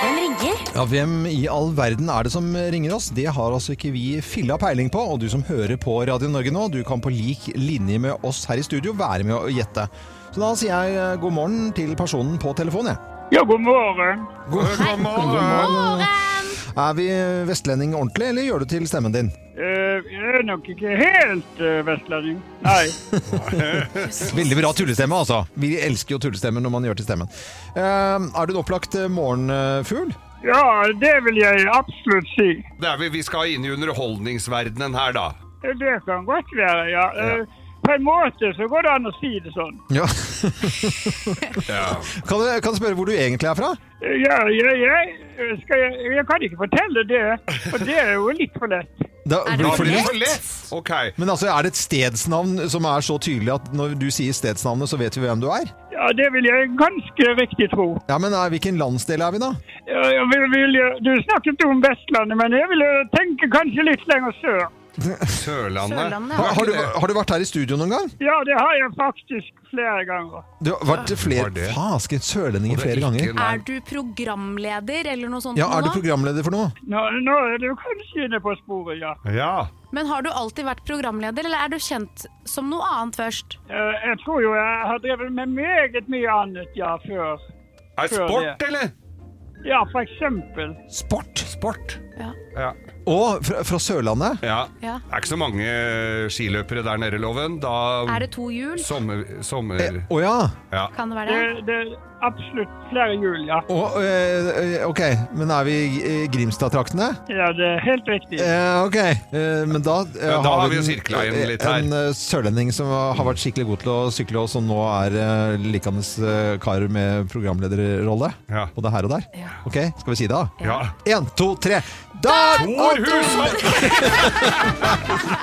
[SPEAKER 6] Hvem ringer?
[SPEAKER 1] Ja, Hvem i all verden er det som ringer oss? Det har altså ikke vi filla peiling på. Og du som hører på Radio Norge nå, du kan på lik linje med oss her i studio være med å gjette. Så da sier jeg eh, god morgen til personen på telefonen, jeg.
[SPEAKER 7] Ja, god morgen.
[SPEAKER 2] God morgen.
[SPEAKER 1] Er vi vestlending ordentlig, eller gjør du til stemmen din?
[SPEAKER 7] Eh, jeg er nok ikke helt eh, vestlending. Nei.
[SPEAKER 1] Veldig bra tullestemme, altså. Vi elsker jo tullestemmer når man gjør til stemmen. Eh, er du en opplagt eh, morgenfugl?
[SPEAKER 7] Ja, det vil jeg absolutt si.
[SPEAKER 2] Det er vi, vi skal inn i underholdningsverdenen her, da.
[SPEAKER 7] Eh, Det kan godt være, ja. Eh, På en måte så går det an å si det sånn.
[SPEAKER 1] Ja. Kan du kan jeg spørre hvor du egentlig er fra?
[SPEAKER 7] Eh, Ja, jeg, jeg, eh, skal jeg, jeg kan ikke fortelle det, for det er jo litt for lett.
[SPEAKER 1] Da
[SPEAKER 5] Er
[SPEAKER 1] blir
[SPEAKER 2] Da
[SPEAKER 1] det for
[SPEAKER 2] blir det
[SPEAKER 1] lett.
[SPEAKER 2] for lett. Ok.
[SPEAKER 1] Men altså, er det et stedsnavn som er så tydelig at når du sier stedsnavnet, så vet vi hvem du er?
[SPEAKER 7] Ja, det vil jeg ganske riktig tro.
[SPEAKER 1] Ja, men eh, hvilken landsdel er vi da?
[SPEAKER 7] Ja, jeg vil, vil, jeg- du snakket om Vestlandet, men jeg vil eh, tenke kanskje litt lenger sør.
[SPEAKER 2] Sørlandet.
[SPEAKER 5] Sørlandet, ja.
[SPEAKER 1] Ha, har, du, har du vært her i studio noen gang?
[SPEAKER 7] Ja, det har jeg faktisk flere ganger.
[SPEAKER 1] Du har vært
[SPEAKER 2] Har det?
[SPEAKER 1] flere Fasken, sørlendinger
[SPEAKER 2] Og det
[SPEAKER 1] flere
[SPEAKER 2] er
[SPEAKER 1] ganger.
[SPEAKER 2] ikke en-
[SPEAKER 5] Er du programleder eller noe sånt?
[SPEAKER 1] Ja,
[SPEAKER 5] nå
[SPEAKER 1] er du
[SPEAKER 5] da?
[SPEAKER 1] programleder for noe?
[SPEAKER 7] Nå, nå er du kanskje inne på sporet, ja.
[SPEAKER 2] Ja.
[SPEAKER 5] Men har du alltid vært programleder, eller er du kjent som noe annet først?
[SPEAKER 7] Eh, Jeg tror jo jeg har drevet med meget mye annet, ja, før.
[SPEAKER 2] Er det sport, eller?
[SPEAKER 7] Ja, for eksempel.
[SPEAKER 1] Sport?
[SPEAKER 2] Sport.
[SPEAKER 5] Ja.
[SPEAKER 2] Ja.
[SPEAKER 1] Og fra, fra Sørlandet?
[SPEAKER 2] ja.
[SPEAKER 5] Ja.
[SPEAKER 2] Det er ikke så mange skiløpere der nede, Loven. Da
[SPEAKER 5] Er det to hjul?
[SPEAKER 2] Sommer... sommer...
[SPEAKER 1] Eh, Å ja.
[SPEAKER 2] Ja.
[SPEAKER 5] Kan det
[SPEAKER 7] Det,
[SPEAKER 5] være det?
[SPEAKER 7] det er absolutt flere hjul, ja.
[SPEAKER 1] Å, eh, eh, ok, men er vi i Grimstad-traktene?
[SPEAKER 7] Ja, det er helt riktig.
[SPEAKER 1] Eh, ok, eh, men da, eh,
[SPEAKER 2] Ja, da har vi jo
[SPEAKER 1] en-
[SPEAKER 2] sirkla igjen litt her.
[SPEAKER 1] En eh, sørlending som har vært skikkelig god til å sykle, og som nå er eh, likende eh, kar med programlederrolle.
[SPEAKER 2] Ja.
[SPEAKER 1] Både her og der. Ok, skal vi si det, da?
[SPEAKER 2] ja.
[SPEAKER 1] Én, to, tre. Der!
[SPEAKER 2] Tor Hushovd!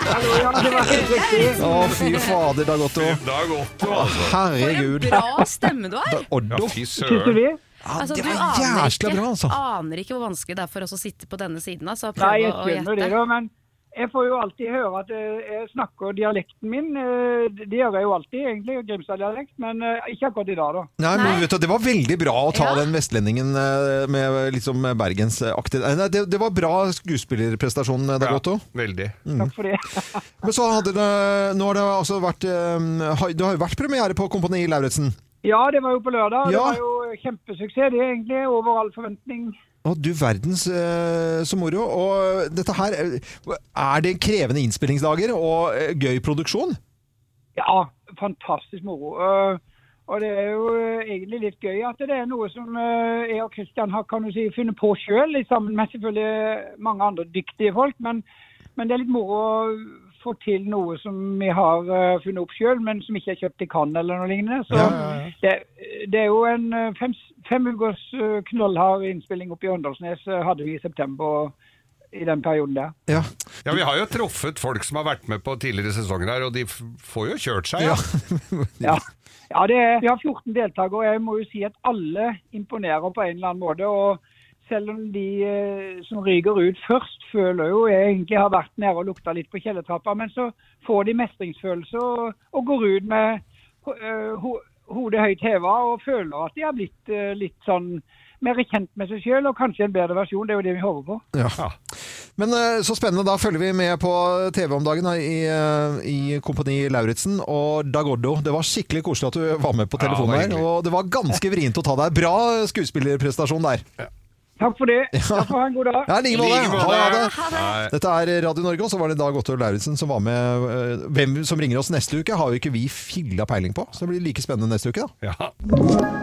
[SPEAKER 7] Hallo, ja, det var helt riktig.
[SPEAKER 1] Å, fy fader, Dag Otto.
[SPEAKER 2] Dag Otto, altså.
[SPEAKER 5] For
[SPEAKER 1] Herregud.
[SPEAKER 5] en bra stemme du har!
[SPEAKER 2] Ja,
[SPEAKER 1] Oddo.
[SPEAKER 2] fy
[SPEAKER 7] Syns du
[SPEAKER 2] søren.
[SPEAKER 7] det?
[SPEAKER 1] Ja,
[SPEAKER 5] Altså,
[SPEAKER 1] det
[SPEAKER 5] du
[SPEAKER 1] er
[SPEAKER 5] aner
[SPEAKER 1] jæskla
[SPEAKER 5] ikke, Ah,
[SPEAKER 1] bra, altså.
[SPEAKER 5] aner ikke hvor vanskelig det er for oss å sitte på denne siden. Altså,
[SPEAKER 7] Nei,
[SPEAKER 5] prøve
[SPEAKER 7] jeg
[SPEAKER 5] å
[SPEAKER 7] skjønner det,
[SPEAKER 5] gjette.
[SPEAKER 7] da, men jeg får jo alltid høre at eh, jeg snakker dialekten min. eh, Det gjør jeg jo alltid, egentlig, Grimstad-dialekt, men eh, ikke akkurat i dag, da.
[SPEAKER 1] Nei, men
[SPEAKER 5] Nei.
[SPEAKER 1] vet du, Det var veldig bra å ta
[SPEAKER 5] Ja.
[SPEAKER 1] den vestlendingen eh, med liksom bergensaktig Nei, det, det var bra skuespillerprestasjon, Dag
[SPEAKER 2] Ja,
[SPEAKER 1] Otto.
[SPEAKER 2] veldig.
[SPEAKER 7] Takk for det.
[SPEAKER 1] Men så hadde det, nå har det altså vært eh, har- Det har jo vært premiere på Kompani Lauritzen.
[SPEAKER 7] Ja, det var jo på lørdag. og
[SPEAKER 1] Ja.
[SPEAKER 7] Det var jo kjempesuksess, det, egentlig. Over all forventning.
[SPEAKER 1] Å, du verdens eh, så moro. Og dette her eh, Er det krevende innspillingsdager og eh, gøy produksjon?
[SPEAKER 7] Ja, fantastisk moro. Eh, Og det er jo eh, egentlig litt gøy at det er noe som eh, jeg og Kristian har kan du si, funnet på sjøl, sammen med selvfølgelig mange andre dyktige folk. Men, men det er litt moro å få til noe som vi har eh, funnet opp sjøl, men som ikke er kjøpt i Cannes eller noe lignende. Så
[SPEAKER 1] Ja, ja,
[SPEAKER 7] Det, det er jo en eh, fem, fem ukers eh, knallhard innspilling oppe i Åndalsnes eh, hadde vi i september i den perioden der.
[SPEAKER 1] Ja.
[SPEAKER 2] Ja, Vi har jo truffet folk som har vært med på tidligere sesonger her, og de f- får jo kjørt seg.
[SPEAKER 1] ja.
[SPEAKER 2] Ja.
[SPEAKER 7] Ja, ja det er, vi har 14 deltakere, og jeg må jo si at alle imponerer på en eller annen måte. og selv om de eh, som ryker ut først, føler jo jeg egentlig har vært nede og lukta litt på kjellertrappa, men så får de mestringsfølelse og, og går ut med ho- eh, ho hodet høyt heva og føler at de har blitt eh, litt sånn mer kjent med seg sjøl og kanskje en bedre versjon. Det er jo det vi håper på.
[SPEAKER 1] Ja. Men eh, så spennende. Da følger vi med på TV om dagen da, i, eh, i Kompani Lauritzen og Dag Oddo. Det var skikkelig koselig at du var med på
[SPEAKER 2] Ja, det var
[SPEAKER 1] telefonen der.
[SPEAKER 2] hyggelig.
[SPEAKER 1] Og det var ganske vrient å ta deg. Bra skuespillerprestasjon der.
[SPEAKER 7] Takk for det. Takk for ha en god dag.
[SPEAKER 1] Ja, i like måte.
[SPEAKER 2] Like måte.
[SPEAKER 1] Ha det.
[SPEAKER 2] Nei.
[SPEAKER 1] Dette er Radio Norge, og så var det Dag Otto Lauritzen som var med. eh, Hvem som ringer oss neste uke, har jo ikke vi filla peiling på. Så det blir like spennende neste uke, da.
[SPEAKER 2] Ja.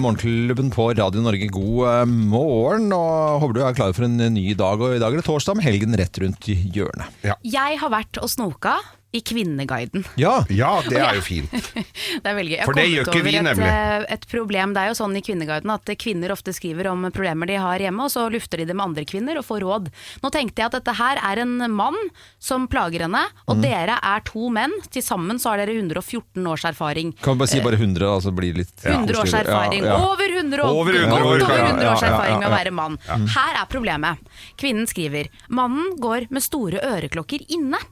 [SPEAKER 1] Morgenklubben på Radio Norge, god eh, morgen. Og håper du er klar for en øh, ny dag. Og i dag er det torsdag, med helgen rett rundt i hjørnet.
[SPEAKER 5] Jeg har vært og snoka i Kvinneguiden.
[SPEAKER 1] Ja,
[SPEAKER 2] ja, det er jo fint.
[SPEAKER 5] Det er veldig gøy. Jeg
[SPEAKER 2] For det
[SPEAKER 5] kom
[SPEAKER 2] gjør
[SPEAKER 5] ut
[SPEAKER 2] ikke vi,
[SPEAKER 5] over et,
[SPEAKER 2] nemlig.
[SPEAKER 5] eh, Et problem, Det er jo sånn i Kvinneguiden at kvinner ofte skriver om problemer de har hjemme, og så lufter de det med andre kvinner og får råd. Nå tenkte jeg at dette her er en mann som plager henne, og dere er to menn. Til sammen så har dere 114 års erfaring.
[SPEAKER 1] Kan vi bare si bare 100, da, så blir det litt
[SPEAKER 5] 100 års erfaring. Over 100 år,
[SPEAKER 2] Over 100 år,
[SPEAKER 5] godt over
[SPEAKER 2] ja,
[SPEAKER 5] 100 års
[SPEAKER 1] ja, ja,
[SPEAKER 5] erfaring med å
[SPEAKER 1] ja. Mm.
[SPEAKER 5] være mann. Her er problemet. Kvinnen skriver Mannen går med store øreklokker inne.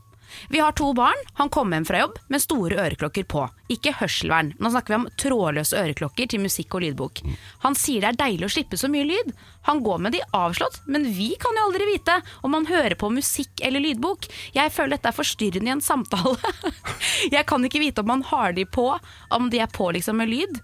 [SPEAKER 5] Vi har to barn, han kom hjem fra jobb med store øreklokker på. Ikke hørselvern. Nå snakker vi om trådløse øreklokker til musikk og lydbok. Han sier det er deilig å slippe så mye lyd. Han går med de avslått, men vi kan jo aldri vite om han hører på musikk eller lydbok. Jeg føler dette er forstyrrende i en samtale. Jeg kan ikke vite om han har de på, om de er på liksom med lyd.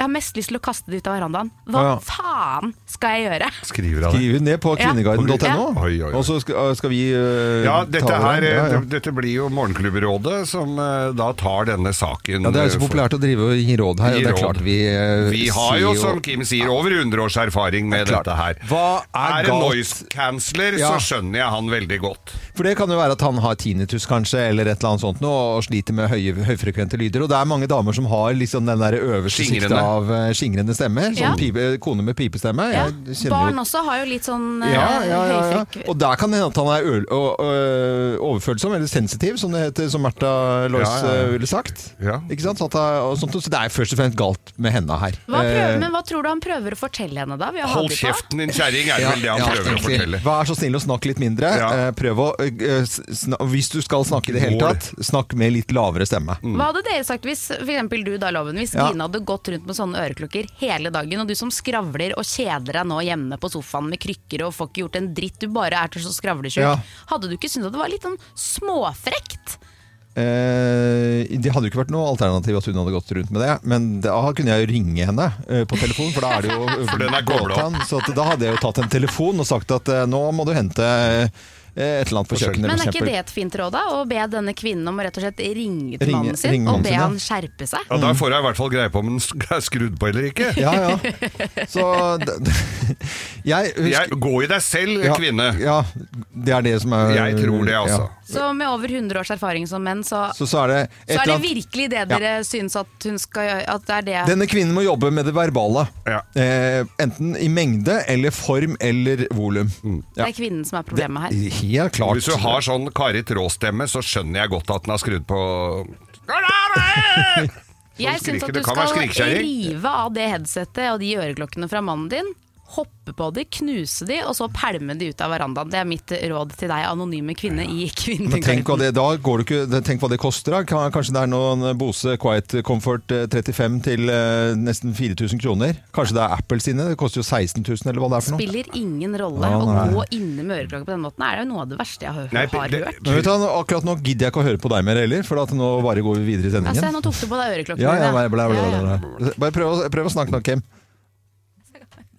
[SPEAKER 5] Jeg har mest lyst til å kaste det ut av verandaen. Hva
[SPEAKER 1] Ja, ja.
[SPEAKER 5] faen skal jeg gjøre?
[SPEAKER 2] Skriver han det.
[SPEAKER 1] Skriv ned på kvinneguiden.no,
[SPEAKER 2] Ja. Oi, oi, oi.
[SPEAKER 1] og så skal, skal vi eh,
[SPEAKER 2] Ja, dette,
[SPEAKER 1] ta over
[SPEAKER 2] her,
[SPEAKER 1] den. Ja, ja.
[SPEAKER 2] d- dette blir jo Morgenklubbrådet som eh, da tar denne saken.
[SPEAKER 1] Ja, det er jo så
[SPEAKER 2] eh, for-
[SPEAKER 1] populært å drive og gi råd her.
[SPEAKER 2] Gi
[SPEAKER 1] og det er
[SPEAKER 2] råd.
[SPEAKER 1] klart vi eh,
[SPEAKER 2] Vi har
[SPEAKER 1] sier
[SPEAKER 2] jo, som Kim sier, over 100 års erfaring med
[SPEAKER 1] Det er klart.
[SPEAKER 2] dette her.
[SPEAKER 1] Hva er
[SPEAKER 2] det
[SPEAKER 1] galt?
[SPEAKER 2] noise canceller,
[SPEAKER 1] Ja.
[SPEAKER 2] så skjønner jeg han veldig godt.
[SPEAKER 1] For det kan jo være at han har tinnitus kanskje, eller et eller annet sånt nå, og sliter med høye, høyfrekvente lyder. Og det er mange damer som har liksom den der øverste
[SPEAKER 2] Skingrende.
[SPEAKER 1] siktet av eh, skingrende stemmer.
[SPEAKER 5] Ja.
[SPEAKER 1] Sånn pipe, kone med pipestemme.
[SPEAKER 5] Ja.
[SPEAKER 1] Jeg kjenner
[SPEAKER 5] Barn
[SPEAKER 1] jo-
[SPEAKER 5] også har jo litt sånn eh,
[SPEAKER 1] Ja, ja, ja, ja.
[SPEAKER 5] høyfrekv-
[SPEAKER 1] Og der kan det hende at han er øl, og, øh, overfølsom, eller sensitiv, som det heter, som Märtha Lois
[SPEAKER 2] Ja, ja, ja.
[SPEAKER 1] øh, ville sagt.
[SPEAKER 2] Ja.
[SPEAKER 1] Ikke sant? Så, at, det- og sånt, så det er først og fremst galt med henne her.
[SPEAKER 5] Hva, prøver,
[SPEAKER 1] Eh,
[SPEAKER 5] men hva tror du han prøver å fortelle henne da? ved å ha
[SPEAKER 2] Hold
[SPEAKER 5] de på?
[SPEAKER 2] kjeften din, kjerring, er
[SPEAKER 1] Ja,
[SPEAKER 2] vel det han
[SPEAKER 1] ja,
[SPEAKER 2] prøver å
[SPEAKER 1] egentlig.
[SPEAKER 2] fortelle.
[SPEAKER 1] Vær så snill å snakke litt mindre.
[SPEAKER 2] Ja.
[SPEAKER 1] Eh, Prøv å, eh, s- sna hvis du skal snakke i det hele
[SPEAKER 2] Mål.
[SPEAKER 1] tatt, snakk med litt lavere stemme.
[SPEAKER 5] Hva hadde dere sagt hvis for eksempel du da, Loven, hvis
[SPEAKER 1] Ja.
[SPEAKER 5] Gina hadde gått rundt med sånne øreklokker hele dagen, og du som skravler og kjeder deg nå hjemme på sofaen med krykker og får ikke gjort en dritt, du bare er til så skravlesjuk,
[SPEAKER 1] Ja.
[SPEAKER 5] hadde du ikke syntes at det var litt sånn småfrekt?
[SPEAKER 1] Eh, det hadde jo ikke vært noe alternativ at hun hadde gått rundt med det, men da kunne jeg jo ringe henne eh, på telefon, for da er det jo eh,
[SPEAKER 2] For den er koblet opp.
[SPEAKER 1] Så at, da hadde jeg jo tatt en telefon og sagt at eh, nå må du hente eh, et eller annet på kjøkkenet.
[SPEAKER 5] Men
[SPEAKER 1] for
[SPEAKER 5] er ikke
[SPEAKER 1] eksempel.
[SPEAKER 5] det et fint råd, da? Å be denne kvinnen om å rett og slett ringe til
[SPEAKER 1] Ringe-
[SPEAKER 5] mannen sin,
[SPEAKER 1] ringe mannen
[SPEAKER 5] og be
[SPEAKER 1] sin, ja.
[SPEAKER 5] han skjerpe seg?
[SPEAKER 2] Ja, Da får jeg i hvert fall greie på om den sk- er skrudd på eller ikke.
[SPEAKER 1] Mm. Ja, ja. Så d- d- jeg husker
[SPEAKER 2] Jeg, gå i deg selv,
[SPEAKER 1] ja,
[SPEAKER 2] kvinne.
[SPEAKER 1] Ja, det er det som er
[SPEAKER 2] Jeg tror det, altså.
[SPEAKER 1] ja.
[SPEAKER 5] Så med over 100 års erfaring som menn, så, så,
[SPEAKER 1] Så, så er det et
[SPEAKER 5] er
[SPEAKER 1] eller
[SPEAKER 5] det
[SPEAKER 1] annet
[SPEAKER 5] virkelig det dere syns at hun skal gjøre? At det er det
[SPEAKER 1] Denne kvinnen må jobbe med det verbale.
[SPEAKER 2] Ja.
[SPEAKER 1] Eh, enten i mengde eller form eller volum.
[SPEAKER 5] Det
[SPEAKER 1] Ja.
[SPEAKER 5] er kvinnen som er problemet her.
[SPEAKER 1] Helt klart.
[SPEAKER 2] Hvis du har sånn Kari Traa-stemme, så skjønner jeg godt at den har skrudd på Går det av deg?
[SPEAKER 5] Jeg syns
[SPEAKER 2] skriker.
[SPEAKER 5] at
[SPEAKER 2] Det
[SPEAKER 5] du
[SPEAKER 2] kan være
[SPEAKER 5] skal
[SPEAKER 2] skrikekjerring.
[SPEAKER 5] rive av det headsetet og de øreklokkene fra mannen din. Hoppe på de, knuse de, og så pælme de ut av verandaen. Det er mitt råd til deg, anonyme kvinne i
[SPEAKER 1] Men tenk hva,
[SPEAKER 5] Kvinneguiden.
[SPEAKER 1] det, da går du ikke, det- tenk hva det koster. da. Kan- Kanskje det er noen Bose Quiet Comfort eh, 35 til eh, nesten 4000 kroner. Kanskje det er Apple sine. Det koster jo 16 000 eller hva det er for noe.
[SPEAKER 5] Spiller ingen rolle.
[SPEAKER 1] Ja,
[SPEAKER 5] Å
[SPEAKER 1] nei.
[SPEAKER 5] gå inne med øreklokke på den måten er jo noe av det verste jeg har,
[SPEAKER 2] Nei,
[SPEAKER 5] har
[SPEAKER 2] det-
[SPEAKER 5] hørt.
[SPEAKER 1] Men vet du, hva, akkurat nå gidder jeg ikke å høre på deg mer heller, for at nå bare går vi videre i
[SPEAKER 5] Ja, se,
[SPEAKER 1] sendingen.
[SPEAKER 5] Altså, nå tok du på deg øreklokkene.
[SPEAKER 1] Ja, ja,
[SPEAKER 5] dine.
[SPEAKER 1] bla, bla, bla,
[SPEAKER 5] Ja, ja.
[SPEAKER 1] bla, bla. Bare prøv, å- prøv å snakke nå, Kim.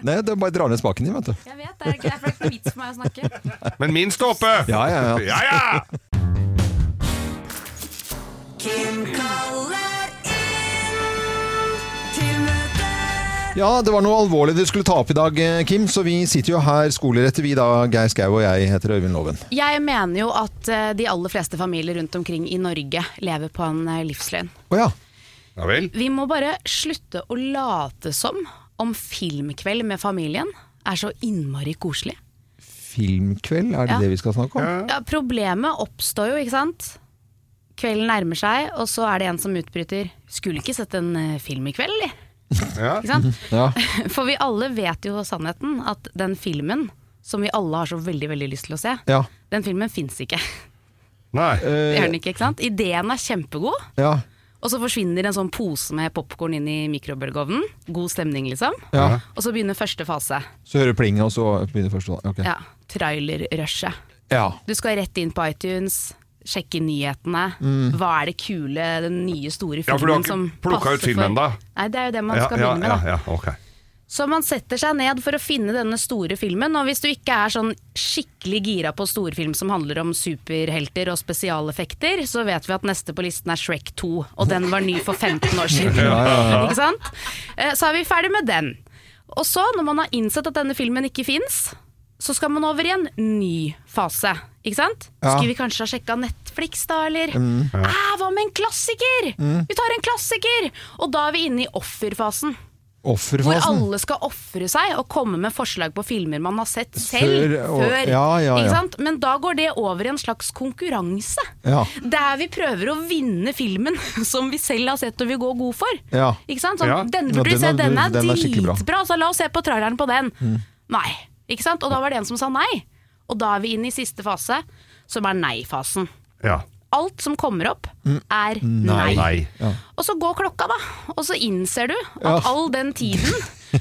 [SPEAKER 1] Nei, det bare drar ned spaken din, vet du.
[SPEAKER 5] Jeg vet, det er ikke det er ikke noe vits for meg å snakke.
[SPEAKER 2] Men min står oppe!
[SPEAKER 1] Ja, ja, ja.
[SPEAKER 2] ja, ja.
[SPEAKER 6] Kim kaller inn til møte.
[SPEAKER 1] Ja, det var noe alvorlig du skulle ta opp i dag, eh, Kim, så vi sitter jo her skolerette, vi da, Geir Skau og jeg heter Øyvind Loven.
[SPEAKER 5] Jeg mener jo at eh, de aller fleste familier rundt omkring i Norge lever på en eh, livsløgn.
[SPEAKER 1] Å ja.
[SPEAKER 2] Ja vel.
[SPEAKER 5] Vi må bare slutte å late som om filmkveld med familien er så innmari koselig.
[SPEAKER 1] Filmkveld, er det
[SPEAKER 5] Ja.
[SPEAKER 1] det vi skal snakke om?
[SPEAKER 5] Ja, problemet oppstår jo, ikke sant? Kvelden nærmer seg, og så er det en som utbryter 'Skulle ikke sett en eh, film i kveld', eller?
[SPEAKER 2] Ja.
[SPEAKER 5] Ikke sant?
[SPEAKER 1] Ja.
[SPEAKER 5] For vi alle vet jo sannheten at den filmen som vi alle har så veldig veldig lyst til å se,
[SPEAKER 1] Ja.
[SPEAKER 5] den filmen fins ikke.
[SPEAKER 2] Nei.
[SPEAKER 5] Det gjør
[SPEAKER 1] Eh,
[SPEAKER 5] den ikke, ikke sant? Ideen er kjempegod,
[SPEAKER 1] ja.
[SPEAKER 5] og så forsvinner en sånn pose med popkorn inn i mikrobølgeovnen. God stemning, liksom.
[SPEAKER 1] ja.
[SPEAKER 5] Og så begynner første fase.
[SPEAKER 1] Så hører du plinget, og så begynner første Ok.
[SPEAKER 5] Ja, Trailerrushet.
[SPEAKER 1] Ja.
[SPEAKER 5] Du skal rett inn på iTunes, sjekke nyhetene.
[SPEAKER 2] Mm.
[SPEAKER 5] Hva er det kule, den nye, store
[SPEAKER 2] Ja,
[SPEAKER 5] filmen
[SPEAKER 2] for du har ikke
[SPEAKER 5] som
[SPEAKER 2] plukket ut
[SPEAKER 5] passer
[SPEAKER 2] filmen
[SPEAKER 5] for
[SPEAKER 2] da?
[SPEAKER 5] Nei, det er jo det man
[SPEAKER 2] Ja,
[SPEAKER 5] skal
[SPEAKER 2] ja,
[SPEAKER 5] begynne med, da.
[SPEAKER 2] ja, ja, ok.
[SPEAKER 5] Så man setter seg ned for å finne denne store filmen, og hvis du ikke er sånn skikkelig gira på storfilm som handler om superhelter og spesialeffekter, så vet vi at neste på listen er Shrek 2, og den var ny for 15 år siden. Ikke sant? Eh, Så er vi ferdig med den. Og så, når man har innsett at denne filmen ikke fins, så skal man over i en ny fase. Ikke sant?
[SPEAKER 1] Ja.
[SPEAKER 5] Skulle vi kanskje ha sjekka Netflix, da, eller? Æ, hva med en klassiker? Vi tar en klassiker! Og da er vi inne i offerfasen. Hvor
[SPEAKER 1] Offerfasen.
[SPEAKER 5] alle skal ofre seg og komme med forslag på filmer man har sett selv
[SPEAKER 1] Før
[SPEAKER 5] før.
[SPEAKER 1] og- Ja, ja, ja.
[SPEAKER 5] Ikke sant? Men da går det over i en slags konkurranse.
[SPEAKER 1] Ja.
[SPEAKER 5] Der vi prøver å vinne filmen som vi selv har sett og vil gå god for.
[SPEAKER 1] Ja.
[SPEAKER 5] Ikke sant? Sånn,
[SPEAKER 2] Ja.
[SPEAKER 5] Denne
[SPEAKER 1] Ja,
[SPEAKER 5] burde vi se,
[SPEAKER 1] den er-
[SPEAKER 5] den er,
[SPEAKER 1] den er skikkelig bra. Mm.
[SPEAKER 5] dritbra, så la oss se på traileren på den. Nei. Ikke sant? Og da var det en som sa nei. Og da er vi inne i siste fase, som er nei-fasen.
[SPEAKER 2] Ja.
[SPEAKER 5] Alt som kommer opp,
[SPEAKER 1] Mm.
[SPEAKER 5] er nei.
[SPEAKER 2] Nei.
[SPEAKER 5] Og så går klokka, da. Og så innser du at
[SPEAKER 1] Ja.
[SPEAKER 5] all den tiden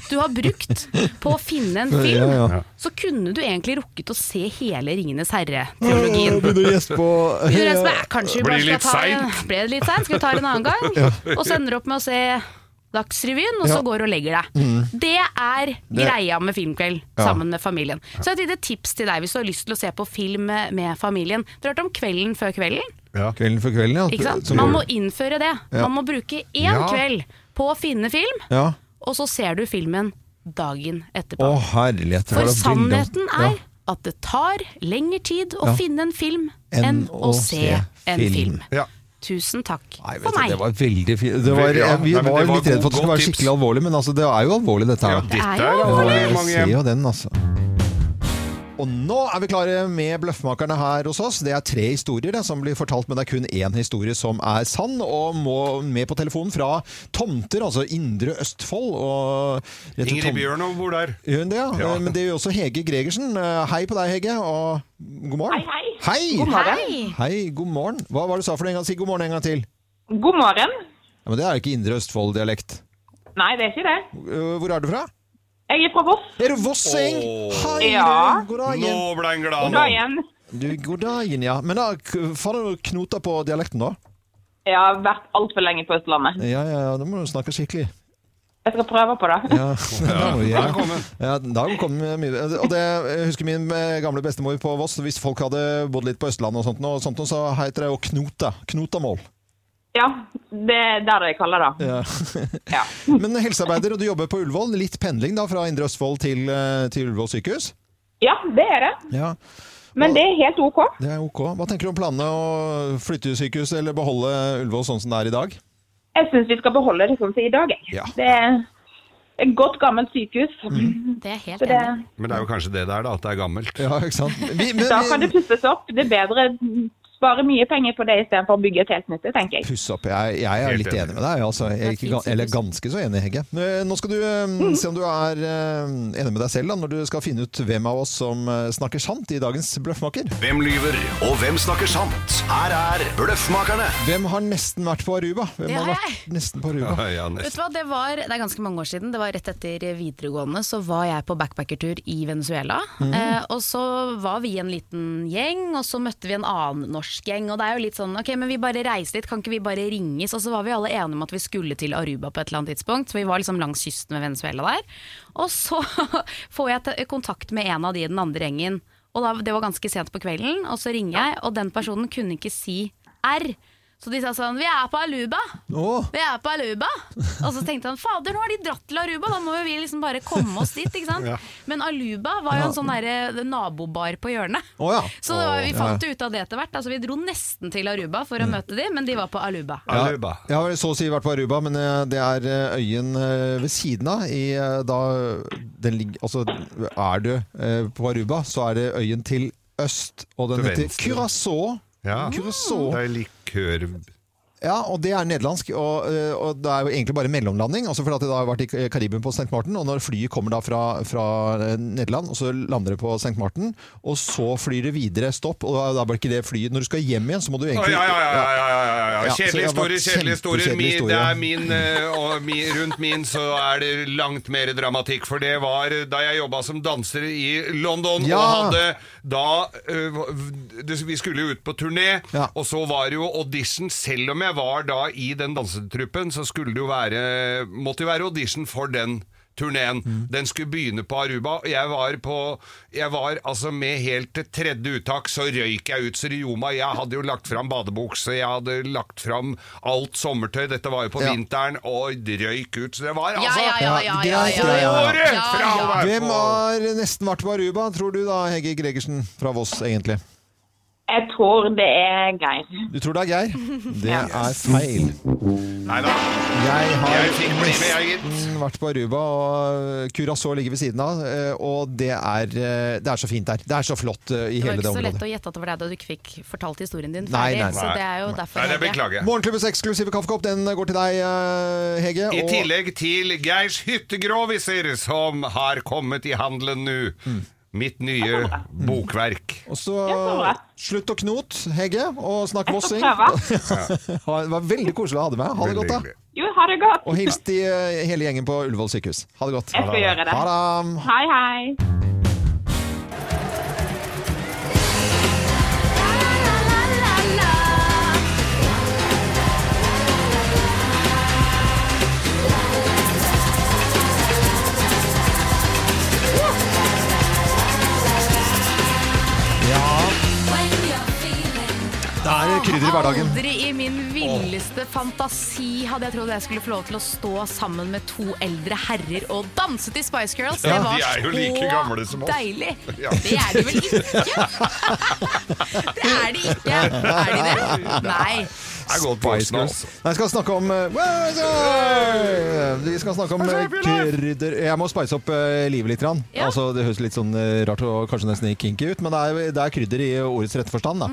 [SPEAKER 5] du har brukt på å finne en film,
[SPEAKER 1] Ja, ja.
[SPEAKER 5] så kunne du egentlig rukket å se hele 'Ringenes herre'-teologien.
[SPEAKER 1] Begynner å gjespe og
[SPEAKER 5] Du reiser meg, kanskje vi
[SPEAKER 2] Blir
[SPEAKER 5] bare skal
[SPEAKER 2] litt
[SPEAKER 5] ta en, ble det litt seint, skal vi ta det en annen gang? Og så ender du opp med å se Dagsrevyen, og så
[SPEAKER 1] Ja. Mm.
[SPEAKER 5] går du og legger deg. Det er greia med filmkveld sammen med familien. Så et lite tips til deg hvis du har lyst til å se på film med familien. Det har hørt om kvelden før kvelden.
[SPEAKER 2] Ja.
[SPEAKER 1] Kvelden for kvelden, ja.
[SPEAKER 5] Ikke sant?
[SPEAKER 1] Som-
[SPEAKER 5] Man må innføre det.
[SPEAKER 1] Ja.
[SPEAKER 5] Man må bruke én
[SPEAKER 2] Ja.
[SPEAKER 5] kveld på å finne film,
[SPEAKER 1] Ja.
[SPEAKER 5] og så ser du filmen dagen
[SPEAKER 1] Å,
[SPEAKER 5] etterpå.
[SPEAKER 1] herlighet.
[SPEAKER 5] For
[SPEAKER 1] Var det
[SPEAKER 5] sannheten
[SPEAKER 1] bilder?
[SPEAKER 5] er
[SPEAKER 1] Ja.
[SPEAKER 5] at det tar lengre tid å
[SPEAKER 1] Ja.
[SPEAKER 5] finne en film enn å se en film.
[SPEAKER 2] Ja.
[SPEAKER 5] Tusen takk
[SPEAKER 1] Nei, vet
[SPEAKER 5] for
[SPEAKER 1] du,
[SPEAKER 5] meg.
[SPEAKER 1] det var veldig fint. Det var,
[SPEAKER 2] Ja,
[SPEAKER 1] vi
[SPEAKER 2] nei, men det
[SPEAKER 1] var
[SPEAKER 2] var
[SPEAKER 1] litt redd for at det
[SPEAKER 2] god-
[SPEAKER 1] skulle være
[SPEAKER 2] godt tips.
[SPEAKER 1] skikkelig alvorlig, men altså, det er jo alvorlig, dette
[SPEAKER 2] ja,
[SPEAKER 1] her. da.
[SPEAKER 2] dette
[SPEAKER 5] er
[SPEAKER 2] er
[SPEAKER 5] jo
[SPEAKER 2] alvorlig
[SPEAKER 1] Ja,
[SPEAKER 2] i
[SPEAKER 1] jeg
[SPEAKER 2] mange
[SPEAKER 1] ser
[SPEAKER 2] hjem.
[SPEAKER 1] jo den, altså. Og nå er vi klare med Bløffmakerne her hos oss. Det er tre historier det, som blir fortalt, men det er kun én historie som er sann. Og må med på telefonen fra Tomter, altså Indre Østfold. Og
[SPEAKER 2] Ingrid Bjørnov bor der.
[SPEAKER 1] Gjør hun det, ja?
[SPEAKER 2] Ja.
[SPEAKER 1] Men det gjør også Hege Gregersen. Eh, Hei på deg, Hege, og god morgen.
[SPEAKER 8] Hei,
[SPEAKER 1] hei. God
[SPEAKER 5] Hei!
[SPEAKER 1] Hei, god morgen. Hva var det du sa for en gang? Si god morgen en gang til.
[SPEAKER 8] God morgen.
[SPEAKER 1] Ja, men det er jo ikke Indre Østfold-dialekt.
[SPEAKER 8] Nei, det er ikke det.
[SPEAKER 1] Øh, Hvor er du fra?
[SPEAKER 8] Jeg er fra Voss.
[SPEAKER 1] Er du vossing? Hei,
[SPEAKER 8] Ja.
[SPEAKER 1] du. god
[SPEAKER 2] Nå
[SPEAKER 1] dagen.
[SPEAKER 2] ble han glad.
[SPEAKER 8] God dag igjen.
[SPEAKER 1] Du, god dagen, ja. Men da, k- får du knota på dialekten da?
[SPEAKER 8] Jeg har vært altfor lenge på Østlandet.
[SPEAKER 1] Ja, ja, ja, da må du snakke skikkelig.
[SPEAKER 8] Jeg skal prøve på det.
[SPEAKER 1] Ja, da må du
[SPEAKER 2] Ja,
[SPEAKER 1] gjøre.
[SPEAKER 2] velkommen.
[SPEAKER 1] Ja, da kom mye. Og det, jeg husker min eh, gamle bestemor på Voss, hvis folk hadde bodd litt på Østlandet og sånt, nå, og sånt nå, så heter det jo knota, knotamål.
[SPEAKER 8] Ja, det er der jeg kaller det.
[SPEAKER 1] Ja.
[SPEAKER 8] Ja.
[SPEAKER 1] Men helsearbeider, og du jobber på Ullevål. Litt pendling da fra Indre Østfold til, eh, til Ullevål sykehus.
[SPEAKER 8] ja, det er det.
[SPEAKER 1] Ja,
[SPEAKER 8] Men det er helt OK.
[SPEAKER 1] det er ok. Hva tenker du om planene å flytte sykehuset eller beholde Ullevål sånn som det er i dag?
[SPEAKER 8] Jeg syns vi skal beholde det sånn som i dag. jeg.
[SPEAKER 1] Ja. Mm.
[SPEAKER 8] Det er et godt, gammelt sykehus.
[SPEAKER 5] Det er jeg helt
[SPEAKER 8] Så det,
[SPEAKER 5] enig.
[SPEAKER 2] Men det er jo kanskje det der, da. At det er gammelt.
[SPEAKER 1] Ja, ikke sant? Vi, men,
[SPEAKER 8] da kan det
[SPEAKER 1] vi,
[SPEAKER 8] pusses opp. Det er bedre spare mye penger på det istedenfor å bygge et helt nytt, tenker jeg.
[SPEAKER 1] Puss opp, jeg, jeg er
[SPEAKER 2] Helt
[SPEAKER 1] litt
[SPEAKER 2] enig.
[SPEAKER 1] enig med deg. Altså. Jeg er ikke, ga- eller ganske så enig, Hegge. Eh, Nå skal du eh, se om du er eh, enig med deg selv da, når du skal finne ut hvem av oss som eh, snakker sant i dagens Bløffmaker.
[SPEAKER 9] Hvem lyver, og hvem snakker sant? Her er Bløffmakerne.
[SPEAKER 1] Hvem har nesten vært på Aruba? Hvem
[SPEAKER 5] Det
[SPEAKER 1] har
[SPEAKER 5] har
[SPEAKER 1] vært nesten på Aruba?
[SPEAKER 2] Ja, ja,
[SPEAKER 5] Vet du
[SPEAKER 2] nesten.
[SPEAKER 5] hva, det var, det er ganske mange år siden, det var rett etter videregående, så var jeg på backpackertur i Venezuela. Eh, og så var vi en liten gjeng, og så møtte vi en annen norsk gjeng. Og det er jo litt sånn, ok, men vi bare reiser litt, kan ikke vi bare ringes? Og så var vi alle enige om at vi skulle til Aruba på et eller annet tidspunkt, så vi var liksom langs kysten ved Venezuela der. Og så får jeg te- kontakt med en av de i den andre gjengen, og da, det var ganske sent på kvelden, og så ringer jeg, og den personen kunne ikke si R. Så de sa sånn, vi er på Aluba.
[SPEAKER 1] Åh,
[SPEAKER 5] Vi er på Aruba. Og så tenkte han fader, nå har de dratt til Aruba, da må jo vi liksom bare komme oss dit. ikke sant? Men Aluba var jo en sånn derre nabobar på hjørnet.
[SPEAKER 1] Å ja.
[SPEAKER 5] Så det var, vi fant jo ut av det etter hvert. Altså, vi dro nesten til Aruba for å møte de, men de var på Aluba.
[SPEAKER 2] Aruba.
[SPEAKER 1] Jeg har så å si vært på Aruba, men eh, det er eh, øyen eh, ved siden av. I, eh, da den ligger, altså, er du eh, på Aruba, så er det øyen til øst, og den
[SPEAKER 2] Til
[SPEAKER 1] heter
[SPEAKER 2] venstre.
[SPEAKER 1] Curacao.
[SPEAKER 2] Ja.
[SPEAKER 1] Curacao.
[SPEAKER 2] Det er likør...
[SPEAKER 1] Ja, og det er nederlandsk, og, eh, og det er jo egentlig bare mellomlanding. Også fordi at det da har vært i K- Karibien på St. Martin, og når flyet kommer da fra, fra eh, Nederland, og så lander det på St. Martin, og så flyr det videre stopp, og da, da blir ikke det flyet Når du skal hjem igjen, så må du
[SPEAKER 2] Ja,
[SPEAKER 1] egentlig
[SPEAKER 2] ja, ja, ja, ja, ja, ja,
[SPEAKER 1] Ja,
[SPEAKER 2] ja.
[SPEAKER 1] så det var
[SPEAKER 2] Kjedelige historier, kjedelige historier.
[SPEAKER 1] kjempekjedelig
[SPEAKER 2] Min,
[SPEAKER 1] historie.
[SPEAKER 2] det er min, eh, og mi, rundt min så er det langt mer dramatikk, for det var eh, da jeg jobba som danser i London, og
[SPEAKER 1] Ja.
[SPEAKER 2] hadde da eh, v- det- Vi skulle jo ut på turné,
[SPEAKER 1] Ja.
[SPEAKER 2] og så var det jo audition. Selv om jeg var da i den dansetruppen, så skulle det jo være Måtte jo være audition for den. Turnéen.
[SPEAKER 1] Mm.
[SPEAKER 2] Den skulle begynne på Aruba. og Jeg var på Jeg var altså med helt til tredje uttak, så røyk jeg ut Serioma. Jeg hadde jo lagt fram badebukse, jeg hadde lagt fram alt sommertøy. Dette var jo på
[SPEAKER 1] Ja.
[SPEAKER 2] vinteren, og røyk ut. Så det var
[SPEAKER 5] Ja,
[SPEAKER 2] altså
[SPEAKER 5] ja, ja, ja, ja,
[SPEAKER 1] greit,
[SPEAKER 5] ja, ja.
[SPEAKER 1] greit.
[SPEAKER 2] Året
[SPEAKER 5] Ja,
[SPEAKER 2] fra å
[SPEAKER 5] ja.
[SPEAKER 2] være
[SPEAKER 1] Hvem
[SPEAKER 2] på
[SPEAKER 1] har nesten vært på Aruba, tror du da, Hege Gregersen fra Voss, egentlig?
[SPEAKER 8] Jeg tror det er Geir.
[SPEAKER 1] Du tror det er Geir? Det er feil.
[SPEAKER 2] Nei da.
[SPEAKER 1] Jeg har
[SPEAKER 2] Jeg fikk bli med, jeg, gitt.
[SPEAKER 1] nesten vært på Aruba, og Curacao ligger ved siden av. eh, Og det er, eh, det er så fint der. Det er så flott eh, i
[SPEAKER 5] Det
[SPEAKER 1] hele
[SPEAKER 5] var
[SPEAKER 1] det
[SPEAKER 5] ikke så lett
[SPEAKER 1] området.
[SPEAKER 5] å gjette at det var deg da du ikke fikk fortalt historien din
[SPEAKER 1] Nei,
[SPEAKER 5] ferdig.
[SPEAKER 1] nei,
[SPEAKER 5] Så
[SPEAKER 2] nei.
[SPEAKER 5] det er jo derfor
[SPEAKER 2] Nei, det
[SPEAKER 5] Helge.
[SPEAKER 2] beklager jeg.
[SPEAKER 1] Morgenklubbens eksklusive kaffekopp den går til deg, eh, Hege.
[SPEAKER 2] I
[SPEAKER 1] og-
[SPEAKER 2] tillegg til Geirs hyttegroviser, som har kommet i handelen nå. Mitt nye bokverk.
[SPEAKER 1] Og
[SPEAKER 8] så
[SPEAKER 1] så
[SPEAKER 8] bra.
[SPEAKER 1] slutt å knote, Hegge, og snakk vossing.
[SPEAKER 8] prøve.
[SPEAKER 1] Ha- det var veldig koselig å ha deg med. Ha det
[SPEAKER 2] Veldig
[SPEAKER 1] godt, da.
[SPEAKER 2] hyggelig.
[SPEAKER 8] Jo, ha det godt.
[SPEAKER 1] Og hils til eh, hele gjengen på Ullevål sykehus. Ha det godt.
[SPEAKER 8] Jeg skal gjøre det.
[SPEAKER 1] Ha det.
[SPEAKER 8] Hei, hei.
[SPEAKER 1] Det
[SPEAKER 2] Ah.
[SPEAKER 1] er krydder i hverdagen.
[SPEAKER 5] Aldri i min villeste fantasi hadde jeg trodd jeg skulle få lov til å stå sammen med to eldre herrer og danse til Spice Girls. Det
[SPEAKER 2] Ja,
[SPEAKER 5] var
[SPEAKER 2] de er jo like gamle som oss.
[SPEAKER 5] deilig.
[SPEAKER 2] Ja.
[SPEAKER 5] Det er de vel ikke? Det er de ikke. Er de det? Nei.
[SPEAKER 2] Jeg går på
[SPEAKER 1] Spice
[SPEAKER 2] Oslo.
[SPEAKER 1] Girls. Nei, jeg skal snakke om eh, Where's I? Vi skal snakke om eh, krydder Jeg må spice opp eh, livet litt. grann.
[SPEAKER 5] Ja.
[SPEAKER 1] Altså, det høres litt sånn eh, rart og kanskje nesten litt kinky ut, men det er, det er krydder i ordets rette forstand. Da.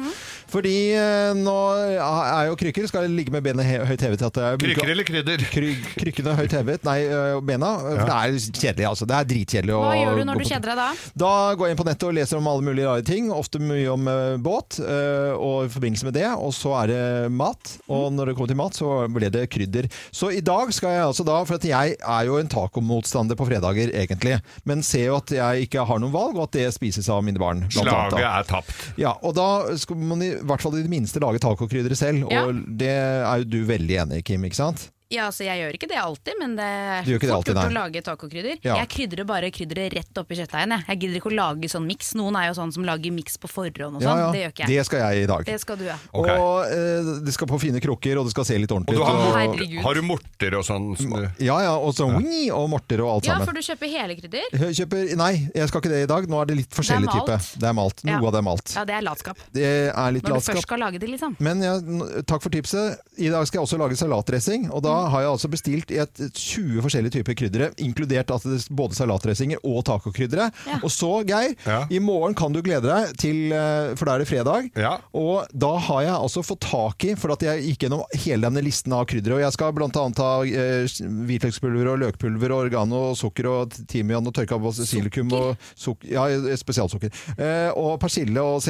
[SPEAKER 1] Fordi eh, nå er jo krykker Skal jeg ligge med benet he- høyt hevet. At jeg bruker-
[SPEAKER 2] Krykker eller krydder?
[SPEAKER 1] Kry krykkene høyt hevet, nei, ø, bena. For det er kjedelig, altså. Det er dritkjedelig. å
[SPEAKER 5] Hva gjør du når
[SPEAKER 1] gå
[SPEAKER 5] du
[SPEAKER 1] på-
[SPEAKER 5] kjeder deg da?
[SPEAKER 1] Da går jeg inn på nettet og leser om alle mulige rare ting. Ofte mye om ø, båt, ø, og i forbindelse med det. Og så er det mat.
[SPEAKER 5] Mm.
[SPEAKER 1] Og når det kommer til mat, så ble det krydder. Så i dag skal jeg altså da For at jeg er jo en tacomotstander på fredager, egentlig. Men ser jo at jeg ikke har noe valg, og at det spises av mine barn. blant annet, da.
[SPEAKER 2] Slaget er tapt.
[SPEAKER 1] Ja, og da skal man i hvert fall i det minste lage tacokrydderet selv. Og
[SPEAKER 5] Ja.
[SPEAKER 1] det er jo du veldig enig i, Kim, ikke sant?
[SPEAKER 5] Ja, altså Jeg gjør ikke det alltid, men det er
[SPEAKER 1] Du gjør ikke det
[SPEAKER 5] fort
[SPEAKER 1] alltid,
[SPEAKER 5] gjort å
[SPEAKER 1] nei.
[SPEAKER 5] lage tacokrydder.
[SPEAKER 1] Ja.
[SPEAKER 5] Jeg krydrer bare krydderet rett oppi kjøttdeigen. Jeg. jeg gidder ikke å lage sånn miks. Noen er jo sånn som lager miks på forhånd og sånn. Det gjør ikke jeg.
[SPEAKER 1] Det skal jeg i dag.
[SPEAKER 5] Det skal du, ja.
[SPEAKER 2] Ok.
[SPEAKER 1] Og eh, det skal på fine krukker, og det skal se litt
[SPEAKER 2] Og
[SPEAKER 1] ordentlig
[SPEAKER 2] du
[SPEAKER 1] ut.
[SPEAKER 2] har, mort,
[SPEAKER 5] Herregud.
[SPEAKER 2] har du morter og sånn? som du-
[SPEAKER 1] Ja, ja, og så wii, og morter og alt
[SPEAKER 5] Ja, for
[SPEAKER 1] sammen.
[SPEAKER 5] du kjøper hele krydder?
[SPEAKER 1] Jeg Kjøper, nei, jeg skal ikke det i dag. Nå er det litt forskjellig
[SPEAKER 5] Det er
[SPEAKER 1] type.
[SPEAKER 5] malt.
[SPEAKER 1] Det er malt. Noe
[SPEAKER 5] Ja.
[SPEAKER 1] av det er malt.
[SPEAKER 5] Ja, det er latskap.
[SPEAKER 1] Det er litt
[SPEAKER 5] Når du først
[SPEAKER 1] latskap.
[SPEAKER 5] skal lage det, liksom.
[SPEAKER 1] Men ja, n- takk for tipset. I dag skal jeg også lage salatdressing. Og
[SPEAKER 5] Mm.
[SPEAKER 1] da har jeg altså bestilt i et 20 forskjellige typer kryddere, inkludert at det, både salatdressinger og tacokryddere. Og så, Geir,
[SPEAKER 2] Ja.
[SPEAKER 1] i morgen kan du glede deg til eh, For da er det fredag.
[SPEAKER 2] Ja.
[SPEAKER 1] Og da har jeg altså fått tak i, for at jeg gikk gjennom hele denne listen av kryddere, og jeg skal blant annet ha eh, hvitløkspulver og løkpulver og oregano og sukker og timian og tørka basilikum og suk ja, spesialsukker. Eh, og persille og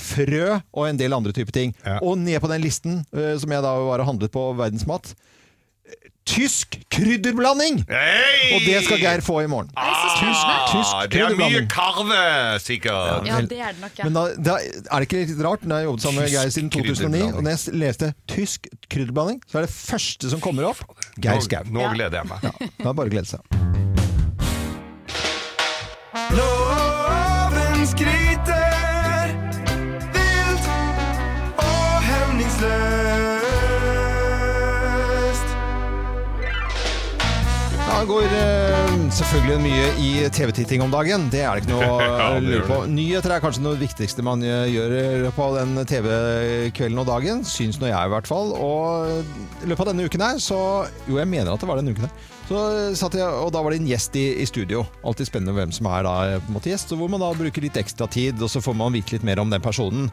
[SPEAKER 1] sellerifrø og en del andre typer ting.
[SPEAKER 2] Ja.
[SPEAKER 1] Og ned på den listen eh, som jeg da var og handlet på Verdensmat. eh, Tysk krydderblanding!
[SPEAKER 2] Hei!
[SPEAKER 1] Og det skal Geir få i morgen. Tysk, tysk
[SPEAKER 2] Ah, det er mye
[SPEAKER 1] krydderblanding.
[SPEAKER 2] karve, sikkert.
[SPEAKER 5] Ja, det er det nok, ja.
[SPEAKER 1] Men da, da er det ikke litt rart, når jeg har jobbet sammen med
[SPEAKER 2] Tysk
[SPEAKER 1] Geir siden 2009,
[SPEAKER 2] krydderblanding.
[SPEAKER 1] og når jeg leste tysk krydderblanding, så er det første som kommer opp Geir
[SPEAKER 2] Nå,
[SPEAKER 1] Skau.
[SPEAKER 2] nå gleder jeg meg.
[SPEAKER 1] Det er bare å glede seg.
[SPEAKER 10] Loven skryter vilt og hemningsløst.
[SPEAKER 1] Ja, det går eh, selvfølgelig mye i TV-titting om dagen. Det er det ikke noe
[SPEAKER 11] Ja,
[SPEAKER 1] å
[SPEAKER 11] det
[SPEAKER 1] lure
[SPEAKER 11] gjør
[SPEAKER 1] på. Nyheter er kanskje noe av det viktigste man eh, gjør på den TV-kvelden og dagen. Syns nå jeg, i hvert fall. Og i løpet av denne uken her, så Jo, jeg mener at det var denne uken her. Så eh, satt jeg, og da var det en gjest i, i studio. Alltid spennende hvem som er da eh, på en måte gjest. og Hvor man da bruker litt ekstra tid, og så får man vite litt mer om den personen.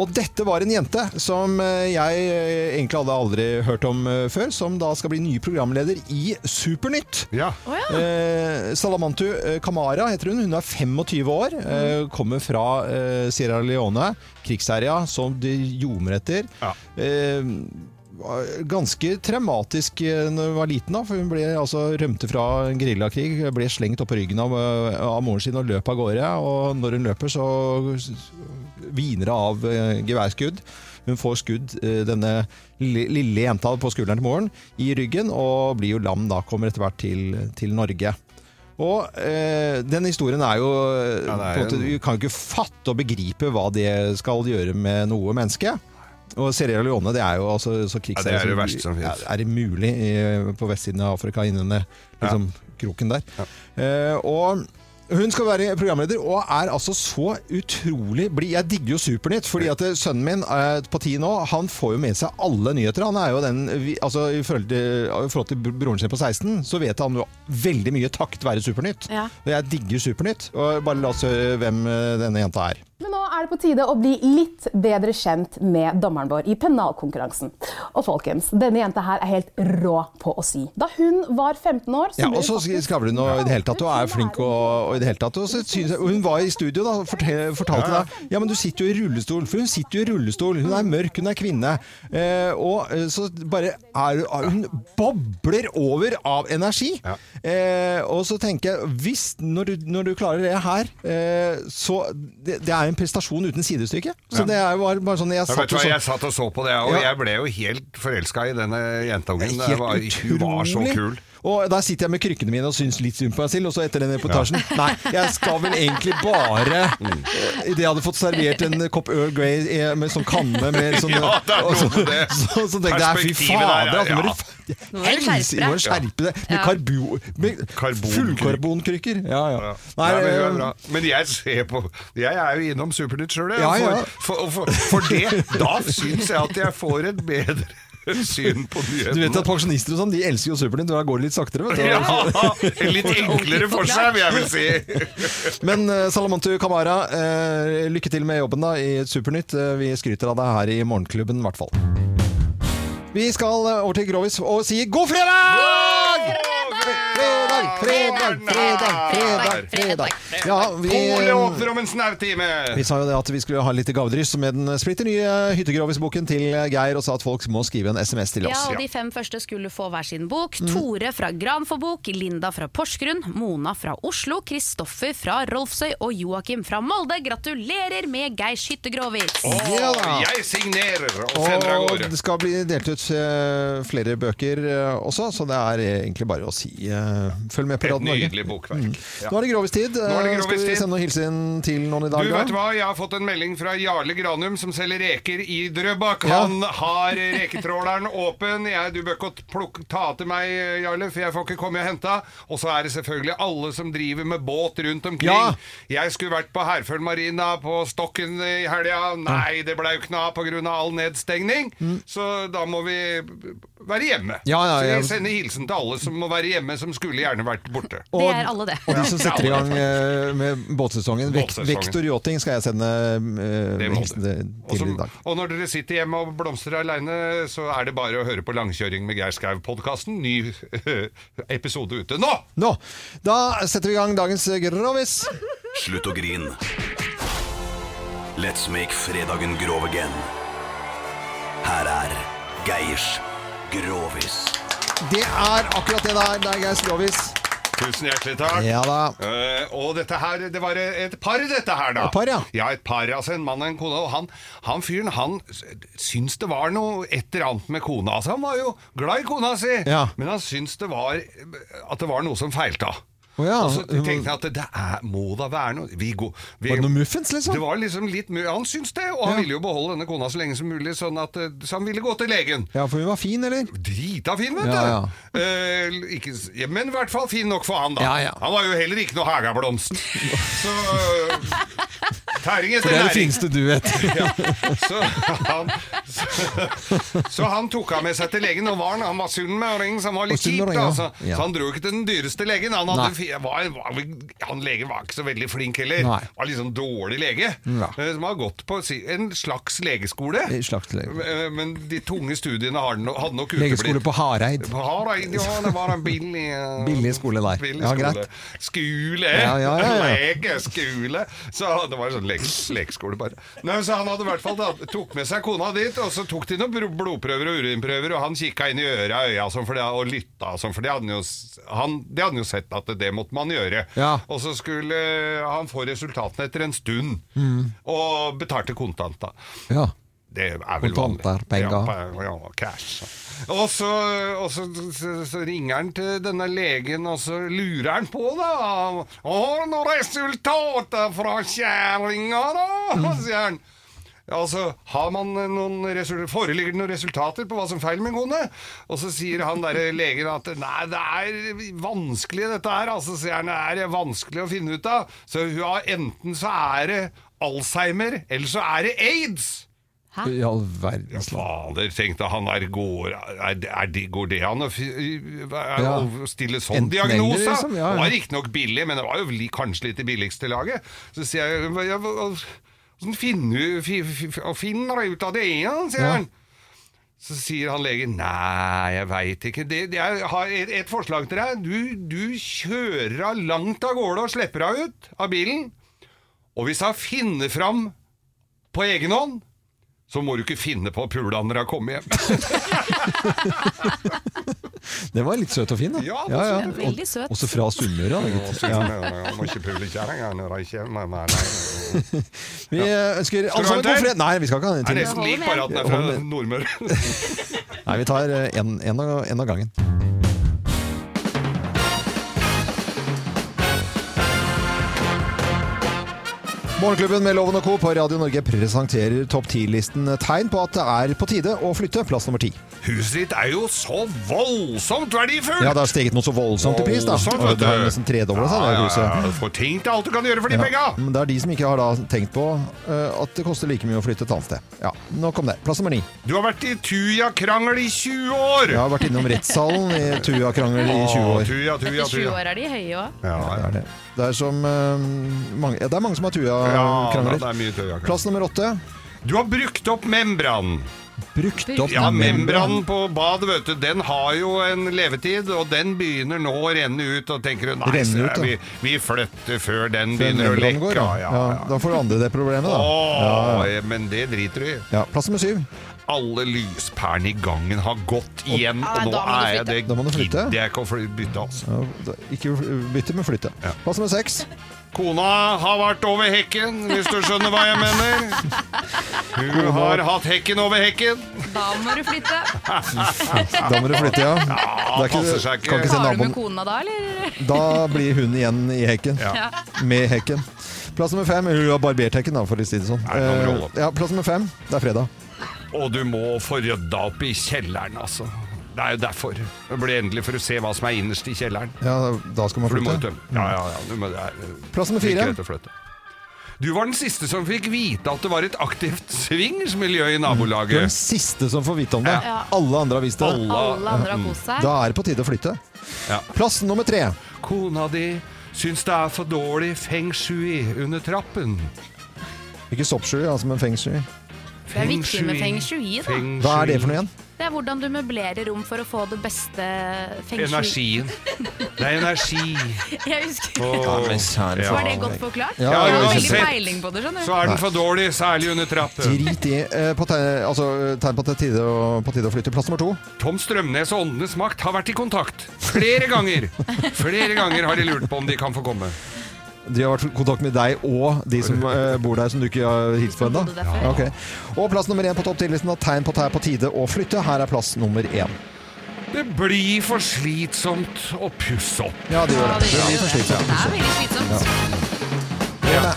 [SPEAKER 1] Og dette var en jente som eh, jeg eh, egentlig hadde aldri hørt om eh, før, som da skal bli ny programleder i Supernytt.
[SPEAKER 2] Ja.
[SPEAKER 1] Eh, Salamantu eh, Kamara heter hun. Hun er 25 år. Eh, kommer fra eh, Sierra Leone, krigsherja, som de ljomer etter. Eh, var ganske traumatisk eh, når hun var liten, da, for hun ble, altså, rømte fra en guerillakrig. Ble slengt opp på ryggen av, eh, av moren sin og løp av gårde. Og når hun løper, så hviner det av eh, geværskudd. Hun får skudd, eh, denne li- lille jenta på skulderen til moren, i ryggen, og blir jo lam da, kommer etter hvert til, til Norge. Og eh, den historien er jo eh,
[SPEAKER 2] det er
[SPEAKER 1] på en måte,
[SPEAKER 2] en-
[SPEAKER 1] Du kan jo ikke fatte og begripe hva det skal gjøre med noe menneske. Og Sierra Leone det er jo altså, så krigsherre
[SPEAKER 2] Ja, det er det verste som finnes.
[SPEAKER 1] er, er det mulig i, på vestsiden av Afrika, innen det, liksom, kroken der. Eh, og hun skal være programleder, og er altså så utrolig blid. Jeg digger jo Supernytt, fordi at eh, sønnen min eh, på ti nå, han får jo med seg alle nyheter. Han er jo den vi- altså, I forhold til, i forhold til br- broren sin på 16, så vet han jo veldig mye takket være Supernytt.
[SPEAKER 12] Ja.
[SPEAKER 1] Og jeg digger Supernytt. Og bare la oss høre hvem eh, denne jenta er.
[SPEAKER 12] Men nå er det på tide å bli litt bedre kjent med dommeren vår i pennalkonkurransen. Og folkens, denne jenta her er helt rå på å si. Da hun var 15 år, så
[SPEAKER 1] Ja,
[SPEAKER 12] ble
[SPEAKER 1] og så skravler hun og i det hele tatt og er flink og, og i det hele tatt. Og så synes jeg, og hun var i studio da og fortel, fortalte
[SPEAKER 2] Ja, ja.
[SPEAKER 1] deg Ja, men du sitter jo i rullestol. For hun sitter jo i rullestol. Hun er mørk, hun er kvinne. Eh, og eh, så bare er er- Hun bobler over av energi. Eh, og så tenker jeg Hvis Når du, når du klarer det her, eh, så det, det er en prestasjon uten sidestykke. Så
[SPEAKER 2] Ja.
[SPEAKER 1] det er jo bare, bare sånn Jeg
[SPEAKER 2] Jeg,
[SPEAKER 1] satt
[SPEAKER 2] vet du
[SPEAKER 1] jo
[SPEAKER 2] hva,
[SPEAKER 1] sånn
[SPEAKER 2] jeg satt og så på det, og
[SPEAKER 1] Ja.
[SPEAKER 2] jeg ble jo helt forelska i denne jentungen. Det
[SPEAKER 1] Helt
[SPEAKER 2] var, hun var så
[SPEAKER 1] utrolig.
[SPEAKER 2] kul.
[SPEAKER 1] Og der sitter jeg med krykkene mine og syns litt synd på meg selv, og så etter den reportasjen Nei, jeg skal vel egentlig bare
[SPEAKER 2] Mm.
[SPEAKER 1] eh, Idet jeg hadde fått servert en kopp Earl Grey eh, med sånn kanne med sånn
[SPEAKER 2] Ja, det er
[SPEAKER 1] og så,
[SPEAKER 2] noe med det.
[SPEAKER 1] så, så, tenkte jeg fy
[SPEAKER 2] Perspektivet der,
[SPEAKER 1] fader, at nå må
[SPEAKER 2] ja.
[SPEAKER 1] du f-
[SPEAKER 2] Nå må du skjerpe
[SPEAKER 1] helse- nå må du
[SPEAKER 2] deg.
[SPEAKER 1] skjerpe deg! Med,
[SPEAKER 2] Ja.
[SPEAKER 1] karbo, med fullkarbonkrykker. Ja, ja. Nei,
[SPEAKER 2] Nei, men, hun er
[SPEAKER 1] eh,
[SPEAKER 2] bra. men jeg ser på Jeg er jo innom Supernytt sjøl, jeg.
[SPEAKER 1] Ja, ja.
[SPEAKER 2] For, for, for, for det, da syns jeg at jeg får et bedre syn på
[SPEAKER 1] du vet
[SPEAKER 2] nyhetene.
[SPEAKER 1] at pensjonister og sånn, de elsker jo Supernytt, og da går det litt saktere, vet du.
[SPEAKER 2] Ja, litt enklere for seg, vil jeg vel si.
[SPEAKER 1] Men eh, Salamantu Kamara, eh, lykke til med jobben da i Supernytt. Eh, vi skryter av deg her i Morgenklubben, i hvert fall. Vi skal eh, over til Grovis og si god fredag! Fredag, fredag, fredag, fredag, fredag. Ja,
[SPEAKER 2] Polet
[SPEAKER 1] vi,
[SPEAKER 2] åpner om en snau time!
[SPEAKER 1] vi sa jo det at vi skulle ha litt gavedryss med den splitter nye Hyttegrovis-boken til eh, Geir, og sa at folk må skrive en SMS til
[SPEAKER 3] Ja,
[SPEAKER 1] oss.
[SPEAKER 3] og de fem første skulle få hver sin bok.
[SPEAKER 1] Mm.
[SPEAKER 3] Tore fra Granforbok, Linda fra Porsgrunn, Mona fra Oslo, Kristoffer fra Rolfsøy og Joakim fra Molde. Gratulerer med Geirs hyttegrovis!
[SPEAKER 1] Å, Ja da.
[SPEAKER 2] Jeg signerer og sender av
[SPEAKER 1] Og
[SPEAKER 2] gårde.
[SPEAKER 1] det skal bli delt ut eh, flere bøker eh, også, så det er egentlig bare å si eh, følg med på
[SPEAKER 2] Et
[SPEAKER 1] Radio Norge. Mm.
[SPEAKER 2] nydelig bokverk. Ja.
[SPEAKER 1] Nå er det grovistid.
[SPEAKER 2] Nå er det
[SPEAKER 1] Skal vi
[SPEAKER 2] grovistid.
[SPEAKER 1] sende noen hilsen til noen i dag?
[SPEAKER 2] Du
[SPEAKER 1] da?
[SPEAKER 2] vet hva, Jeg har fått en melding fra Jarle Granum, som selger reker i Drøbak.
[SPEAKER 1] Ja.
[SPEAKER 2] Han har reketråleren åpen. Jeg, du bør ikke plukke, ta til meg, Jarle, for jeg får ikke komme og hente. Og så er det selvfølgelig alle som driver med båt rundt omkring.
[SPEAKER 1] Ja.
[SPEAKER 2] Jeg skulle vært på Herføl marina på Stokken i helga. Nei, det ble jo ikke noe av pga. all nedstengning. Så da må vi være hjemme.
[SPEAKER 1] Mm. Ja, ja,
[SPEAKER 2] så
[SPEAKER 1] ja.
[SPEAKER 2] jeg sender hilsen til alle som må være hjemme, som skulle gjerne vært borte.
[SPEAKER 1] Og- Det er alle
[SPEAKER 3] det.
[SPEAKER 1] Og de som setter i gang eh, med båtsesongen. Vek
[SPEAKER 2] Båtsesongen.
[SPEAKER 1] Vektor Yachting skal jeg sende eh,
[SPEAKER 2] Det må
[SPEAKER 1] hilsen
[SPEAKER 2] Og,
[SPEAKER 1] til i dag.
[SPEAKER 2] og når dere sitter hjemme og blomstrer aleine, så er det bare å høre på Langkjøring med Geir Skau-podkasten. Ny eh, episode ute nå!
[SPEAKER 1] Nå, da setter vi i gang dagens eh, grovis.
[SPEAKER 9] Slutt å grin. Let's make fredagen grov again. Her er Geirs Grovis.
[SPEAKER 1] Det er akkurat det der. Det er Geirs grovis.
[SPEAKER 2] Tusen hjertelig takk.
[SPEAKER 1] Ja da.
[SPEAKER 2] Eh, og dette her, det var et par, dette her, da.
[SPEAKER 1] Et par, ja.
[SPEAKER 2] et par. Altså en mann og en kone. Og han, han fyren, han s- syns det var noe et eller annet med kona. Altså, han var jo glad i kona si,
[SPEAKER 1] Ja.
[SPEAKER 2] men han syns det var eh, at det var noe som feilte.
[SPEAKER 1] Å ja.
[SPEAKER 2] Og så tenkte jeg at det er, må da være noe vi går, vi,
[SPEAKER 1] Var det noe muffins, liksom?
[SPEAKER 2] Det var liksom litt mu- Han syntes det, og han ville jo beholde denne kona så lenge som mulig, sånn at, eh, så han ville gå til legen.
[SPEAKER 1] Ja, for hun var fin, eller?
[SPEAKER 2] Drita fin, vet du!
[SPEAKER 1] Ja, ja.
[SPEAKER 2] Eh, ikke, s- ja, men i hvert fall fin nok for han, da.
[SPEAKER 1] Ja, ja.
[SPEAKER 2] Han var jo heller ikke noe hageblomst. Så eh, Tæring
[SPEAKER 1] For
[SPEAKER 2] etter
[SPEAKER 1] det er det
[SPEAKER 2] næring.
[SPEAKER 1] fineste du vet.
[SPEAKER 2] Ja, så, han, så, så han tok han med seg til legen, og var han, han var sunnmøring, så han var
[SPEAKER 1] Og
[SPEAKER 2] litt kjip.
[SPEAKER 1] sunnmøring,
[SPEAKER 2] Da, Altså,
[SPEAKER 1] ja.
[SPEAKER 2] så,
[SPEAKER 1] Ja.
[SPEAKER 2] så han dro ikke til den dyreste legen. Han,
[SPEAKER 1] Nei.
[SPEAKER 2] hadde, fi- var, var, vel- han legen var ikke så veldig flink heller.
[SPEAKER 1] Nei.
[SPEAKER 2] Var litt sånn dårlig lege.
[SPEAKER 1] Ja.
[SPEAKER 2] eh, Som har gått på si- en slags legeskole.
[SPEAKER 1] En slags lege.
[SPEAKER 2] Eh, Men de tunge studiene har no- hadde nok uteblitt.
[SPEAKER 1] Legeskole på Hareid.
[SPEAKER 2] På Hareid, ja, det var en billig eh,
[SPEAKER 1] Billig skole der.
[SPEAKER 2] Billig
[SPEAKER 1] Ja,
[SPEAKER 2] skole.
[SPEAKER 1] greit.
[SPEAKER 2] Skole!
[SPEAKER 1] Ja, ja, ja, ja.
[SPEAKER 2] Legeskole! Så det var jo sånn lek, lekeskole, bare. Nei, så han hadde i hvert fall da, tok med seg kona dit, og så tok de noen bro- blodprøver og urinprøver, og han kikka inn i øra og øya sånn, for det, og lytta sånn, for det hadde han jo, s- han, det hadde han jo sett at det måtte man gjøre.
[SPEAKER 1] Ja.
[SPEAKER 2] Og så skulle eh, han få resultatene etter en stund,
[SPEAKER 1] Mm.
[SPEAKER 2] og betalte kontant, da.
[SPEAKER 1] Ja.
[SPEAKER 2] Det er vel
[SPEAKER 1] Kontanter,
[SPEAKER 2] vanlig.
[SPEAKER 1] penger.
[SPEAKER 2] Ja, pe- ja, cash. Og så, og så, så, så ringer han til denne legen, og så lurer han på, da. Har du noen resultater fra kjerringa, da? sier han. Altså, har man noen resul- Foreligger det noen resultater på hva som er feil med kone? Og så sier han der legen at nei, det er vanskelig dette her. Altså, sier han, det er vanskelig å finne ut av. Så hun har enten så er det Alzheimer, eller så er det aids.
[SPEAKER 1] I all verdens land.
[SPEAKER 2] Fader, tenkte han er, går, er, det- er, det- Går det an å fi- er,
[SPEAKER 1] Ja.
[SPEAKER 2] å stille sånn
[SPEAKER 1] Enten
[SPEAKER 2] diagnose?
[SPEAKER 1] eller, liksom, ja, ja.
[SPEAKER 2] Det var riktignok billig, men det var jo li, kanskje litt i billigste laget. Så sier jeg hva- ja, hva- Hvordan finner du fi- fi- fi- finner du ut av det, ja? sier
[SPEAKER 1] Ja.
[SPEAKER 2] han. Så sier han legen Nei, jeg veit ikke. Det, det, jeg har et, et forslag til deg. Du, du kjører henne langt av gårde og slipper henne ut av bilen. Og hvis hun finner fram på egen hånd, så må du ikke finne på å pule han når han kommer hjem.
[SPEAKER 1] Den var litt søt og fin, da.
[SPEAKER 2] Ja, den var søt og fin.
[SPEAKER 1] Og-
[SPEAKER 2] Veldig søt.
[SPEAKER 1] Også fra Sunnmøre. da, gitt.
[SPEAKER 2] Jeg må ikke pule kjerringa når han kommer. Nei, nei.
[SPEAKER 1] Vi eh, ønsker
[SPEAKER 2] Skal
[SPEAKER 1] alle
[SPEAKER 2] du ha
[SPEAKER 1] sammen
[SPEAKER 2] en
[SPEAKER 1] god
[SPEAKER 2] til?
[SPEAKER 1] fred. Nei, vi skal ikke ha en
[SPEAKER 2] Det er
[SPEAKER 1] til.
[SPEAKER 2] nesten lik, bare at den er fra Nordmøre.
[SPEAKER 1] Nei, vi tar eh, en, en, av, en av gangen. Morgenklubben med Loven og Co. på Radio Norge presenterer topp 10-listen tegn på at det er på tide å flytte plass nummer ti.
[SPEAKER 2] Huset ditt er jo så voldsomt verdifullt!
[SPEAKER 1] Ja, det har steget noe så voldsomt i pris, da.
[SPEAKER 2] Voldsomt,
[SPEAKER 1] Og
[SPEAKER 2] vet
[SPEAKER 1] det har
[SPEAKER 2] du.
[SPEAKER 1] nesten tredobla seg, det
[SPEAKER 2] Ja, ja, ja.
[SPEAKER 1] huset.
[SPEAKER 2] Få ting til alt du kan gjøre for de
[SPEAKER 1] Ja,
[SPEAKER 2] penga!
[SPEAKER 1] Men det er de som ikke har da tenkt på eh, at det koster like mye å flytte et annet sted. Ja, Nok om det. Plass nummer ni.
[SPEAKER 2] Du har vært i Tuja-krangel i 20 år!
[SPEAKER 1] Jeg har vært innom rettssalen i Tuja-krangel i 20
[SPEAKER 2] Å,
[SPEAKER 1] år.
[SPEAKER 2] Tuja, tuja,
[SPEAKER 5] Sju
[SPEAKER 2] tuja.
[SPEAKER 5] år er de høye òg.
[SPEAKER 2] Ja,
[SPEAKER 1] Det er det. Det er som eh, mange, ja, Det er mange som har
[SPEAKER 2] ja, det
[SPEAKER 1] Tuja-krangler.
[SPEAKER 2] er mye tuja
[SPEAKER 1] Eh, Plass nummer åtte.
[SPEAKER 2] Du har brukt opp membranen.
[SPEAKER 1] Brukt opp
[SPEAKER 2] Ja,
[SPEAKER 1] membran.
[SPEAKER 2] membranen på badet, vet du. Den har jo en levetid, og den begynner nå å renne ut. Og tenker du, nei,
[SPEAKER 1] Renne
[SPEAKER 2] så
[SPEAKER 1] ut, ja.
[SPEAKER 2] vi, vi flytter før den
[SPEAKER 1] Før
[SPEAKER 2] begynner å
[SPEAKER 1] membranen
[SPEAKER 2] lekke.
[SPEAKER 1] går,
[SPEAKER 2] Ja,
[SPEAKER 1] ja.
[SPEAKER 2] ja,
[SPEAKER 1] Ja,
[SPEAKER 2] ja.
[SPEAKER 1] Da får du andre det problemet, da.
[SPEAKER 2] Åh,
[SPEAKER 1] Ja, ja.
[SPEAKER 2] Men det driter du i.
[SPEAKER 1] Ja, plass nummer syv.
[SPEAKER 2] Alle lyspærene i gangen har gått igjen,
[SPEAKER 1] Ah,
[SPEAKER 2] og nå
[SPEAKER 1] da må du
[SPEAKER 2] er jeg det
[SPEAKER 1] Da må du flytte.
[SPEAKER 2] gidder jeg ikke å fly- bytte. Altså.
[SPEAKER 1] Ja, da- ikke bytte, men flytte. Plass nummer seks.
[SPEAKER 2] Kona har vært over hekken, hvis du skjønner hva jeg mener. Hun
[SPEAKER 1] Kona-
[SPEAKER 2] har hatt hekken over hekken.
[SPEAKER 5] Da må du flytte.
[SPEAKER 1] Da må du flytte, ja. Det er ikke-
[SPEAKER 2] passer seg ikke.
[SPEAKER 1] Kan ikke se
[SPEAKER 5] Har du
[SPEAKER 1] naboen.
[SPEAKER 5] med kona da, eller?
[SPEAKER 1] Da blir hun igjen i hekken.
[SPEAKER 5] Ja.
[SPEAKER 1] Med hekken. Plass nummer fem. Hun har barbert hekken, da, for å si det sånn.
[SPEAKER 2] nummer
[SPEAKER 1] Eh,
[SPEAKER 2] åtte.
[SPEAKER 1] Ja, plass nummer fem. Det er fredag.
[SPEAKER 2] Og du må få rydda opp i kjelleren, altså. Det er jo derfor. Det blir endelig for å se hva som er innerst i kjelleren.
[SPEAKER 1] Ja, da skal man
[SPEAKER 2] For du må jo
[SPEAKER 1] flytte.
[SPEAKER 2] tømme. Ja, ja, ja. Du må, det er, eh,
[SPEAKER 1] Plass nummer
[SPEAKER 2] det er
[SPEAKER 1] fire.
[SPEAKER 2] ikke lett å flytte. Du var den siste som fikk vite at det var et aktivt swingersmiljø i
[SPEAKER 1] Du er den
[SPEAKER 2] nabolaget.
[SPEAKER 1] siste som får vite om det.
[SPEAKER 2] Ja.
[SPEAKER 1] Alle andre har visst det.
[SPEAKER 2] Alle- Alle
[SPEAKER 5] andre har kost seg.
[SPEAKER 1] Da er det på tide å flytte.
[SPEAKER 2] Ja.
[SPEAKER 1] Plass nummer tre.
[SPEAKER 2] Kona di syns det er for dårlig feng shui under trappen.
[SPEAKER 1] Ikke soppsky, altså, men fengsky.
[SPEAKER 5] Det er viktig med feng shui, da.
[SPEAKER 2] Feng
[SPEAKER 1] Hva er det for noe igjen?
[SPEAKER 5] Det er hvordan du møblerer rom for å få det beste feng shui.
[SPEAKER 2] Energien. Det er energi.
[SPEAKER 5] Jeg husker
[SPEAKER 2] Åh,
[SPEAKER 5] ikke.
[SPEAKER 2] ja.
[SPEAKER 5] Var det godt forklart?
[SPEAKER 1] Ja,
[SPEAKER 5] jeg har
[SPEAKER 2] uansett,
[SPEAKER 5] veldig peiling på det, skjønner
[SPEAKER 2] Så er
[SPEAKER 1] Nei.
[SPEAKER 2] den for dårlig, særlig under trappen.
[SPEAKER 1] Drit i. Eh, på tegn, altså, tegn på at det er tide å, på tide å flytte. Plass nummer to.
[SPEAKER 2] Tom Strømnes og Åndenes makt har vært i kontakt. Flere ganger. Flere ganger har de lurt på om de kan få komme.
[SPEAKER 1] De har vært i kontakt med deg og de som eh, bor der, som du ikke har hilst på ennå?
[SPEAKER 5] bodde der før.
[SPEAKER 1] Ja, ok. Og plass nummer én på topp 10-listen av tegn på at det er på tide å flytte. Her er plass nummer én.
[SPEAKER 2] Det blir for slitsomt å pusse opp.
[SPEAKER 1] Ja, det gjør det. Det blir for slitsomt.
[SPEAKER 5] Det er veldig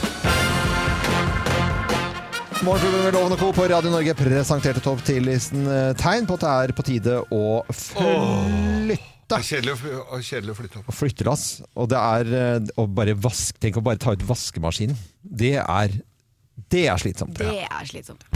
[SPEAKER 5] slitsomt.
[SPEAKER 1] Morgenklubben med Loven og Co. på Radio Norge presenterte topp 10-listen eh, tegn på at det er på tide å flytte.
[SPEAKER 2] Det er kjedelig å, fly- å, kjedelig å flytte opp.
[SPEAKER 1] Og flyttelass. Og det er eh, å bare vaske Tenk å bare ta ut vaskemaskinen. Det er, det er slitsomt.
[SPEAKER 5] Det er slitsomt.